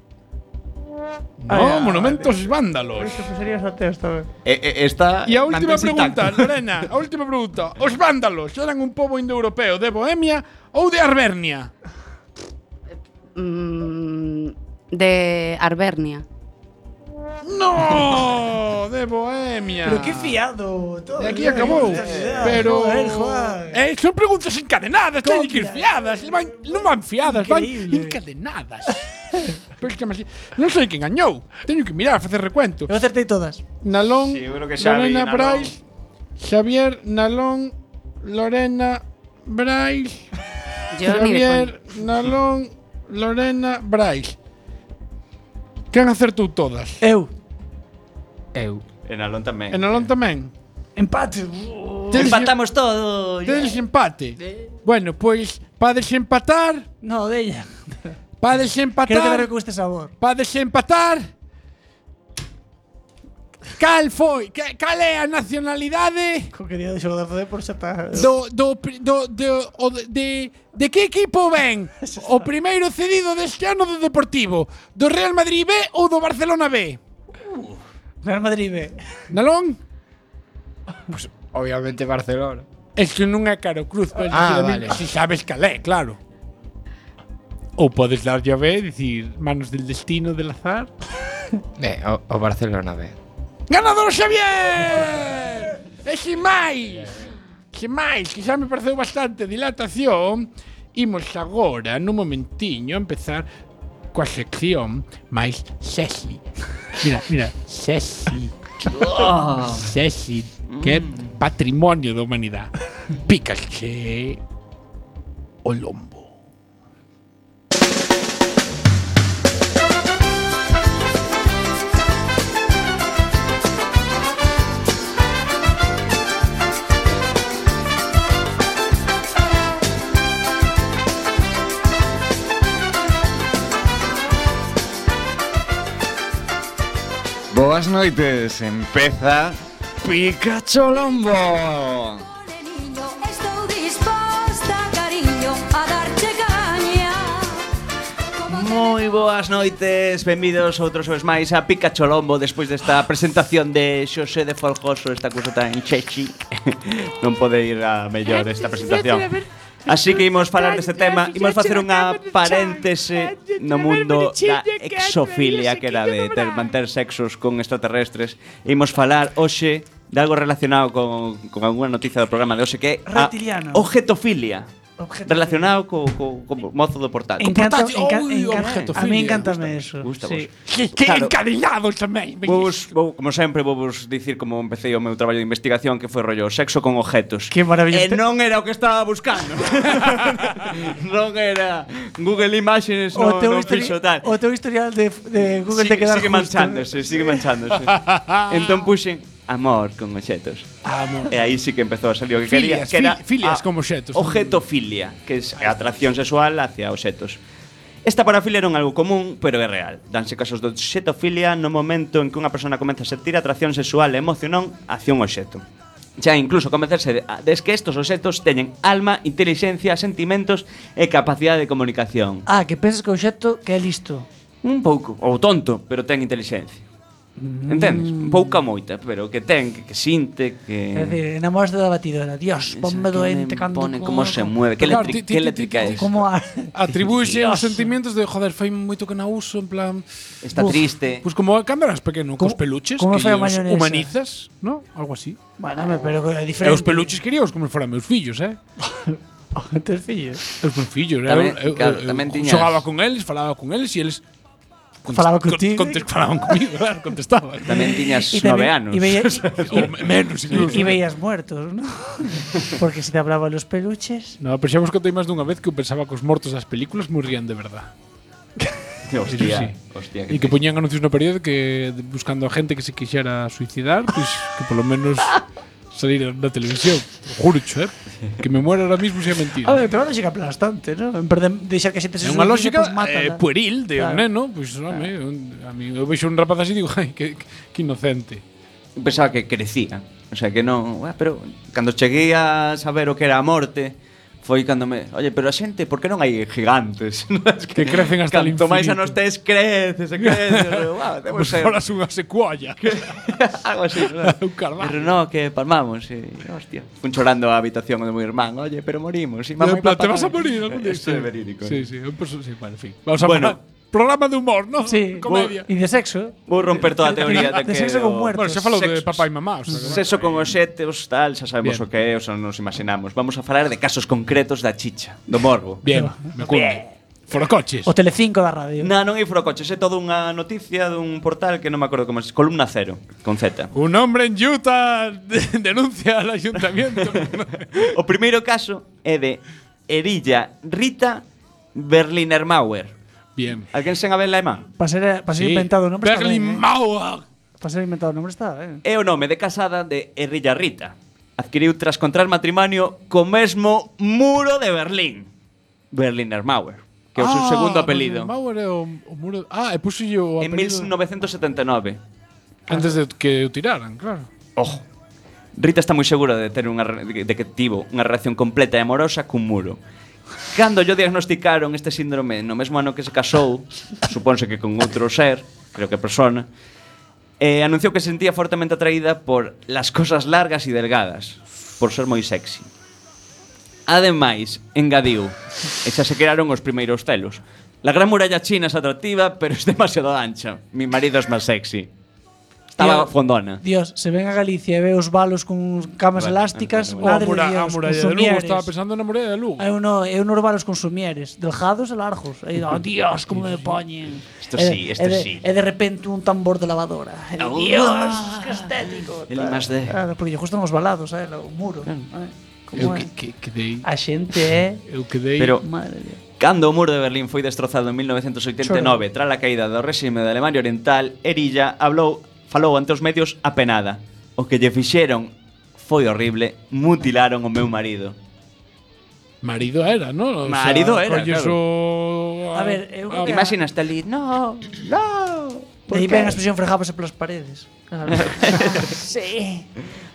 No, monumentos vándalos. Sería sorteo esta vez. Eh, eh, esta E a última mantense pregunta, intacta. Lorena, a última pregunta. Os vándalos eran un pobo indoeuropeo de Bohemia ou de Arvernia? Mm, de Arvernia. No, de Bohemia. Pero qué fiado todo. E aquí acabou. Pero eh, son preguntas encadenadas, teñen que ir fiadas, van, non van fiadas, van encadenadas. Pero es que me así- non sei quen gañou. Teño que mirar, facer recuento. Eu acertei todas. Nalón, Seguro Lorena Brais, Xavier Nalón, Lorena Brais. Yo ni de Xavier Nalón, Lorena Brais. Que han acertou todas? Eu. Eu. En Alon tamén. E Nalón tamén? Empate. Empatamos todo. Tedes empate. Bueno, pois, para desempatar... No, della. Para desempatar... Creo que me recuste sabor. Para desempatar... Cal foi? Ca- Cal é a nacionalidade Co quería deixar de facer por xa está. do, do, pri- do, do, o de, de, de que equipo ven o primeiro cedido deste ano do Deportivo? Do Real Madrid B ou do Barcelona B? Real Madrid B. Nalón? Obviamente Barcelona. Es que non é Caro Cruz, pero Ah, ah, vale. vale. si sabes cal é, claro. Ou podes dar a B e dicir manos del destino, del azar. Eh, o, o Barcelona B. Ganador Xavier! E sin máis, sin máis, que xa me pareceu bastante dilatación, imos agora, nun momentiño, a empezar coa sección máis sexy. Mira, mira, sexy. Oh. Sexy, que é Mm. patrimonio da humanidade. Pícache o lombo. Boas noites, empeza Pikachu Lombo. Estou disposta, cariño, a darche caña Moi boas noites, benvidos outros xoves máis a Pikachu Lombo despois desta presentación de Xosé de Folgoso, esta cousa tan chechi. non pode ir a mellor esta presentación. Así que imos falar deste tema, imos facer unha paréntese no mundo da exofilia que era de ter, manter sexos con extraterrestres. E imos falar hoxe de algo relacionado con, con alguna noticia do programa de hoxe que é a Reptiliano. objetofilia. Objeto. Relacionado co, co, co mozo do portal. Encanta, Co enca- portal. Ui, encanta, a mí objetofilia. encantame eso. Gusta sí. vos. Que Claro. encadinado tamén. Vou vos, vou, como sempre, vou vos dicir como empecé o meu traballo de investigación que foi rollo sexo con objetos. Que maravilloso. E non era o que estaba buscando. non era Google Imágenes, O non, teu, non histori- fixo tal. o teu historial de, de Google te sigue, queda sigue justo. manchándose, sigue manchándose. entón puxen amor con objetos. Amor. E aí sí que empezou a salir o que quería, Filias, que era fi- filias a- como xetos. Objetofilia, que es a atracción sexual hacia objetos. Esta parafilia non é algo común, pero é real. Danse casos de xetofilia no momento en que unha persona comeza a sentir atracción sexual e emocionón hacia un objeto. Xa incluso convencerse de, a- des que estos objetos teñen alma, inteligencia, sentimentos e capacidade de comunicación. Ah, que pensas que o xeto que é listo. Un pouco. Ou tonto, pero ten inteligencia. Entendes? Pouca moita, pero que ten, que, que sinte, que... É dicir, enamoraste da batidora. Dios, ponme doente cando... Eh. pone como se mueve, que Claro, ti- electri- ti- ti- que eléctrica ti- es. Como a... Atribuye os Dios. sentimientos de joder, fai moito que na uso, en plan Está triste. Pois como cámaras pequeno, cos peluches, como que fai a os maionesa? humanizas, ¿no? Algo así. Bueno, home, pero é E diferente. os peluches queríaos como foran meus fillos, eh? Teus fillos. Os meus fillos, Tamén, eu, eu, claro, eu, tamén tiñas- xogaba con eles, falaba con eles e eles Falaba con- contigo. contes- falaban comigo, claro, contestaban. Tamén tiñas Y tamén- nove anos. Y, veía- Ou me- menos incluso. y veías muertos, ¿no? Porque si te hablaban los peluches... No, pero xa vos contei máis dunha vez que eu pensaba que os mortos das películas morrían de verdad. Eso Hostia, sí. hostia, E que que poñían anuncios no período que de- buscando a gente que se quixera suicidar, pois que polo menos salir na televisión. Juro, eh? Que me muera ahora mismo sea mentira. A ver, pero é unha lógica aplastante, ¿no? En vez de deixar que xente se É unha suicide, lógica pois pues mátala. eh, pueril de Claro. un neno, pois home, un- a mí eu vexo un rapaz así e digo, ai, que, que inocente. Pensaba que crecía. O sea, que non... Ué, pero cando cheguei a saber o que era a morte, foi cando me... Oye, pero a xente, por que non hai gigantes? Es Que crecen hasta el Canto máis infinito. anos tes, creces e creces. Uau, Pois temos foras unha secualla. Algo así. un carvalho. Pero no, que palmamos. E, hostia. Fun chorando a habitación do meu irmán. Oye, pero morimos. E mamá En e plan, papá te vas a tamén". morir algún día. Isto é verídico. Sí, sí, eh. pues, sí, bueno, en fin. Vamos a Bueno. bueno. Programa de humor, ¿no? Sí. Comedia. Y de sexo. Vou romper toda a teoría de que... De sexo con o- muertos. Bueno, xa falou de papá e mamá. O sea, que- Sexo con oxetes, tal, xa sabemos Bien. o que é, o xa nos imaginamos. Vamos a falar de casos concretos da chicha, do morbo. Bien, me cunde. Forocoches. O Telecinco da radio. Na, non hai forocoches, é toda unha noticia dun portal que non me acordo como se, Columna Cero, con Z. Un hombre en Utah denuncia al ayuntamiento. o primeiro caso é de Erilla Rita Berliner Mauer. Bien. Alguén sen a verla é má? Para ser, pa ser Sí. inventado o nombre está ben, eh. Mauer. Para ser inventado o nombre está ben. É o nome de casada de Erilla Rita. Adquiriu tras contrar matrimonio co mesmo muro de Berlín. Berliner Mauer, que é o seu segundo apelido. Ah, Mauer é o, o muro. Ah, e puxo o En apelido 1979. antes de que o tiraran, claro. Ojo. Oh. Rita está moi segura de ter unha re- de que tivo unha relación completa e amorosa cun muro. Cando yo diagnosticaron este síndrome no mesmo ano que se casou, supónse que con outro ser, creo que persona, eh, anunciou que se sentía fortemente atraída por las cosas largas e delgadas, por ser moi sexy. Ademais, engadiu, e xa se crearon os primeiros telos. La gran muralla china é atractiva, pero é demasiado ancha. Mi marido é máis sexy. Estaba Tío, fondona. Dios, se ven a Galicia e ve os balos con camas Vale, elásticas, madre vale, vale. de A mura- Dios, a muralla de con Lugo, somieres. estaba pensando na muralla de Lugo. É uno, é unos balos con somieres, delgados e largos. E, oh, Dios, como me poñen. Esto E de- sí, e esto de, sí. E de repente un tambor de lavadora. E de, Oh. Dios, que estético. El I más D. Claro, porque lle gustan os balados, eh, o muro. eh. Como Eu é? que, que, que dei. A xente é... Eu que dei. Pero Madre mía. cando o muro de Berlín foi destrozado en 1989 tras a caída do réxime de Alemania Oriental, Erilla hablou, falou ante os medios apenada. O que lle fixeron foi horrible, mutilaron o meu marido. Marido era, ¿no? O sea, ah. Marido era, colles claro. o- A ver, eu creo que- Imagina hasta ali, no, no. De aí ven a expresión frejábase polas pues, paredes. Claro. sí.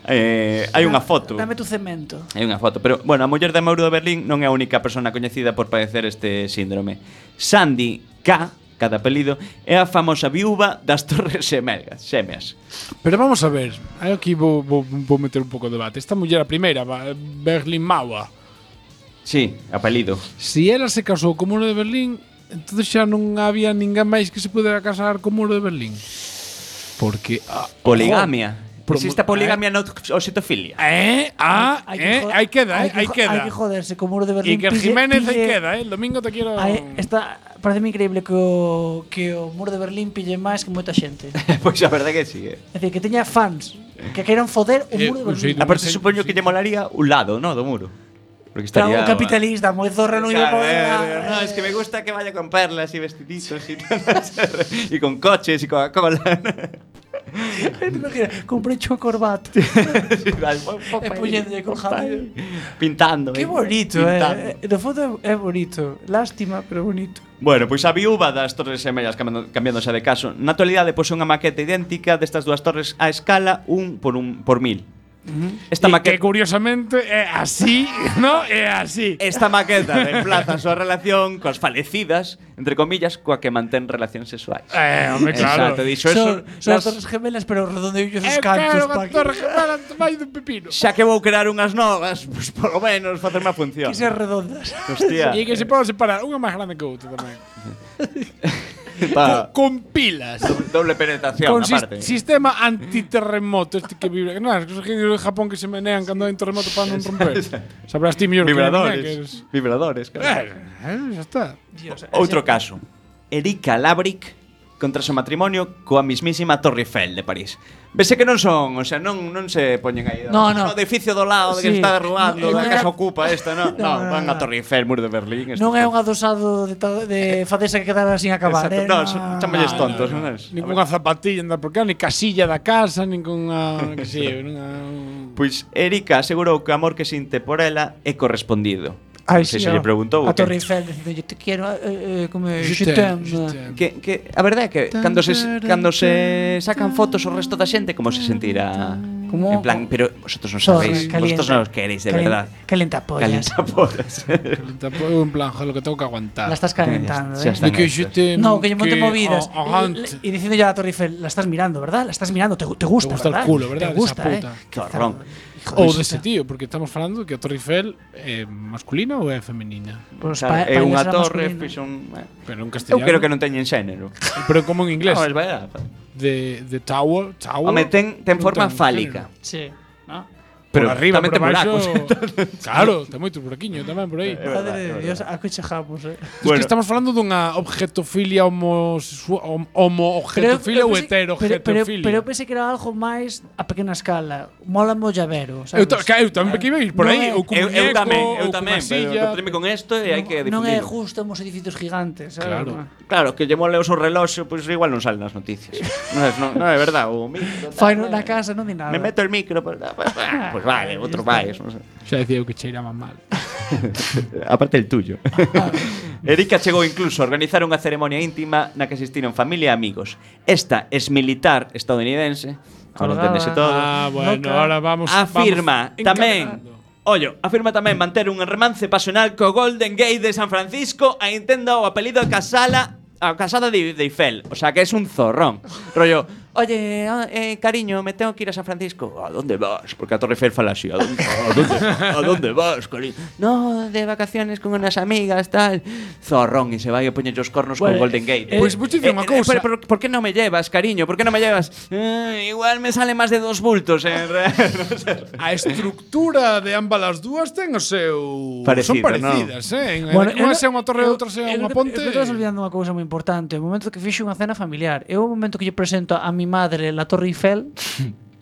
Eh, hai unha foto. Dame tu cemento. Hai unha foto, pero bueno, a muller de Mauro de Berlín non é a única persona coñecida por padecer este síndrome. Sandy K, cada apelido, é a famosa viúva das Torres Xemelgas, Xemeas. Pero vamos a ver, aí aquí vou, vou, vou meter un pouco de debate. Esta muller a primeira, va- Berlin Maua, Sí, apelido. si ela se casou co muro de Berlín, entonces xa non había ninguén máis que se pudera casar co muro de Berlín. Porque ah, Poligamia. Promo- Existe a poligamia no oxitofilia. Eh, ah, Hay que eh, joder- aí queda, hay eh, aí jo- Hay queda. que joderse con muro de Berlín. E que pille- Jiménez aí pille- queda, eh. El domingo te quiero Ai, está, parece increíble que o, que o muro de Berlín pille máis que moita xente. É Pois a verdade que sí. Eh. dicir, que teña fans que queiran foder o muro de Berlín. Aparte, supoño que lle molaría un lado, no, do muro. Porque Claro, estaría... un capitalista moi zorro non iba a Claro, poder. eh, no, es que me gusta que vaya con perlas y vestiditos y, y con coches y Coca-Cola. Te imaginas, Comprei chua corbata. e poñéndolle con jamón. Pintando. Que eh, bonito, pintando. eh. No fondo é bonito. Lástima, pero bonito. Bueno, pois a viúva das Torres Xemellas cambiando- cambiándose de caso. Na actualidade pois unha maqueta idéntica destas dúas torres a escala un por un por mil. Esta que maqueta curiosamente é así, no? É así. Eh, Esta maqueta reemplaza a súa relación coas falecidas, entre comillas, coa que mantén relacións sexuais. Eh, hombre, claro. Exacto, dixo Son, son eso. as nas- torres gemelas, pero redondeillos os Eh, cantos. claro, a pa que- torre gemela vai do pepino. Xa que vou crear unhas novas, pois polo menos facer unha Que función. ser redondas. Hostia. E que se poden separar, unha máis grande que outra tamén. Pa- Con pilas. Doble penetración, Con sis- aparte. sistema antiterremoto este que vibra. Non, as cosas que en Japón que se menean cando hai un terremoto para non romper. Sabrás ti mellor que a miña, que Vibradores. es- Vibradores, claro. Eh, xa está. Outro caso. Erika Labrick contra o seu matrimonio coa mismísima Torre Eiffel de París. Vese que non son, o sea, non non se poñen aí. No, no. O edificio do lado de que Sí. está derrubando, No, da que era- se ocupa esta, non? No, No, no, van no. a Torre Eiffel, muro de Berlín. Non é un adosado de, ta- de fadesa que quedara sin acabar, Exacto. eh? No, son chamalles Ah, tontos, non é? Ningunha zapatilla andar por cá, ni casilla da casa, ningunha, que sei, Pois Erika asegurou que o amor que sinte por ela é correspondido. Ai, non sei sí, se ó. lle preguntou A o que. Torre Eiffel dicindo, "Yo te quero, eh, eh, como é, Je je t'aime, t'aime". Que, que a verdade é que cando se cando se sacan fotos o resto da xente como se sentirá Como- en plan, pero vosotros non Zorra, sabéis, calienta. vosotros non os queréis de Calen- verdad. calentapollas. Calentapollas. Tampouco en plan, joder, lo que tengo que aguantar. La estás calentando, Ya eh. están De que hechas. yo te- No, que yo monte que- movidas. o- o Y- y, diciendo ya a la Torre Eiffel, la estás mirando, ¿verdad? La estás mirando, te, te gusta, Te gusta el ¿verdad? culo, Te ¿verdad? De esa gusta, puta. eh. Que horror. Ou dese tío, porque estamos falando que a Torre Eiffel é masculina ou é femenina? Pois Claro, pa- é parece unha a torre, masculina. pois un- Pero en Eu castellano. creo que non teñen xénero. Pero como en inglés. No, es verdad. De, de tower, tower. Home, ten- ten Non forma ten fálica. género. Sí, ¿no? Pero Pero arriba, tamén por ten baixo. buracos. claro, ten moito buraquiño tamén por aí. Padre de Dios, a que chejamos, eh. Es que estamos falando dunha objetofilia homosexual, homo objetofilia ou hetero pero, pero, objetofilia. pero pues eu pensei que era algo máis a pequena escala. Mola mo llavero, sabes? Eu, ta, ca- eu tamén que iba a ir por Non aí, é- ou con Eu- eu muñeco, tamén, ou con eu tamén, unha pero silla. encontreme con esto e hai que Non é difundilo. justo mos edificios gigantes, sabes? Claro. Claro, que lle mole o seu reloxo, pois igual non salen nas noticias. non, es- non, non é verdade, o micro. tal, Fai na casa, non di nada. Me meto el micro, pois pues, vale, outro máis, non sei. Xa decía eu que cheiraban mal. Aparte el tuyo. Erika chegou incluso a organizar unha ceremonia íntima na que asistiron familia e amigos. Esta es militar estadounidense, ahora Colgada. enténdese todo. Ah, bueno, No, claro. ahora vamos- Afirma vamos tamén Ollo, afirma tamén manter un romance pasional co Golden Gate de San Francisco e entenda o apelido a Casala a casada de, de Eiffel, o sea que es un zorrón. Rollo, oye, ah, eh, cariño, me tengo que ir a San Francisco. ¿A dónde vas? Porque a Torre Eiffel fala así. ¿A dónde, a dónde, a dónde vas, cariño? No, de vacaciones con unas amigas, tal. Zorrón, y se va a poñer os cornos Bueno, con Golden Gate. eh, Pues Pois vou dicir unha cousa. pero- pero por, que non me llevas, cariño? Por que non me llevas? Eh, igual me sale máis de dos bultos, eh. non sei. A estructura de ambas as dúas ten o seu... son Parecido, parecidas, non? eh? En- Bueno, en- Unha eu- sea unha torre e eu- outra sea eu creo unha que- ponte. Eu estás olvidando unha cousa moi importante. O momento que fixo unha cena familiar. Eu o momento que lle presento a mi madre la Torre Eiffel,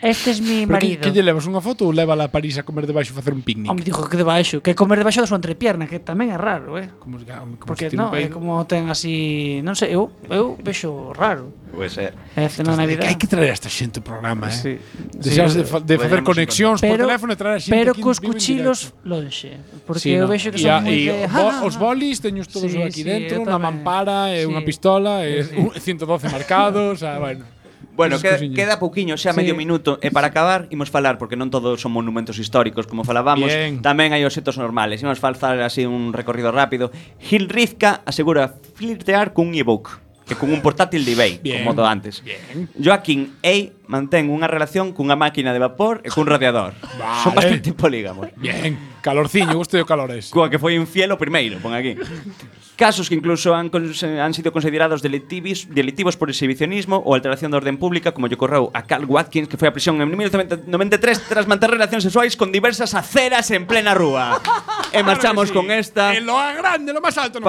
este es mi Pero que, marido. que lle levas unha foto ou levala a París a comer debaixo e facer un picnic? Home, dijo que debaixo, que comer debaixo da súa entrepierna, que tamén é raro, eh? Como, como Porque se tira un non, é peine. como ten así, non sei, eu eu vexo raro. Puede ser. É cena na vida. Hai que traer a esta xente ao programa, eh? Sí. Deseas de, fa- de Podríamos facer conexións por teléfono e traer a xente Pero aquí en cos vivo en cuchilos directo. lonxe, porque Sí, eu no. vexo que E son a- moi e de "Ah, o bo- os bolis teños todos Sí, sí, aquí dentro, eu unha tamén. mampara e Sí. unha pistola e un- 112 marcados, ah, bueno. Bueno, Esas queda, cousiñas. queda pouquiño, xa Sí. medio minuto E para acabar, imos falar, porque non todos son monumentos históricos Como falábamos, Bien. tamén hai os xetos normales Imos falar así un recorrido rápido Gil Rizka asegura flirtear cun ebook Que cun un portátil de eBay, Bien. como do antes Joaquín A mantén unha relación cunha máquina de vapor e cun radiador Son bastante polígamos Bien, calorciño, gusto de calores Coa Pues, que foi infiel o primeiro, pon aquí Casos que incluso han, cons- han sido considerados delictivos, delictivos por exhibicionismo ou alteración de orden pública, como lle correu a Carl Watkins, que foi a prisión en 1993 e tras manter relacións sexuais con diversas aceras en plena rúa. e marchamos con esta En lo grande, lo máis alto, no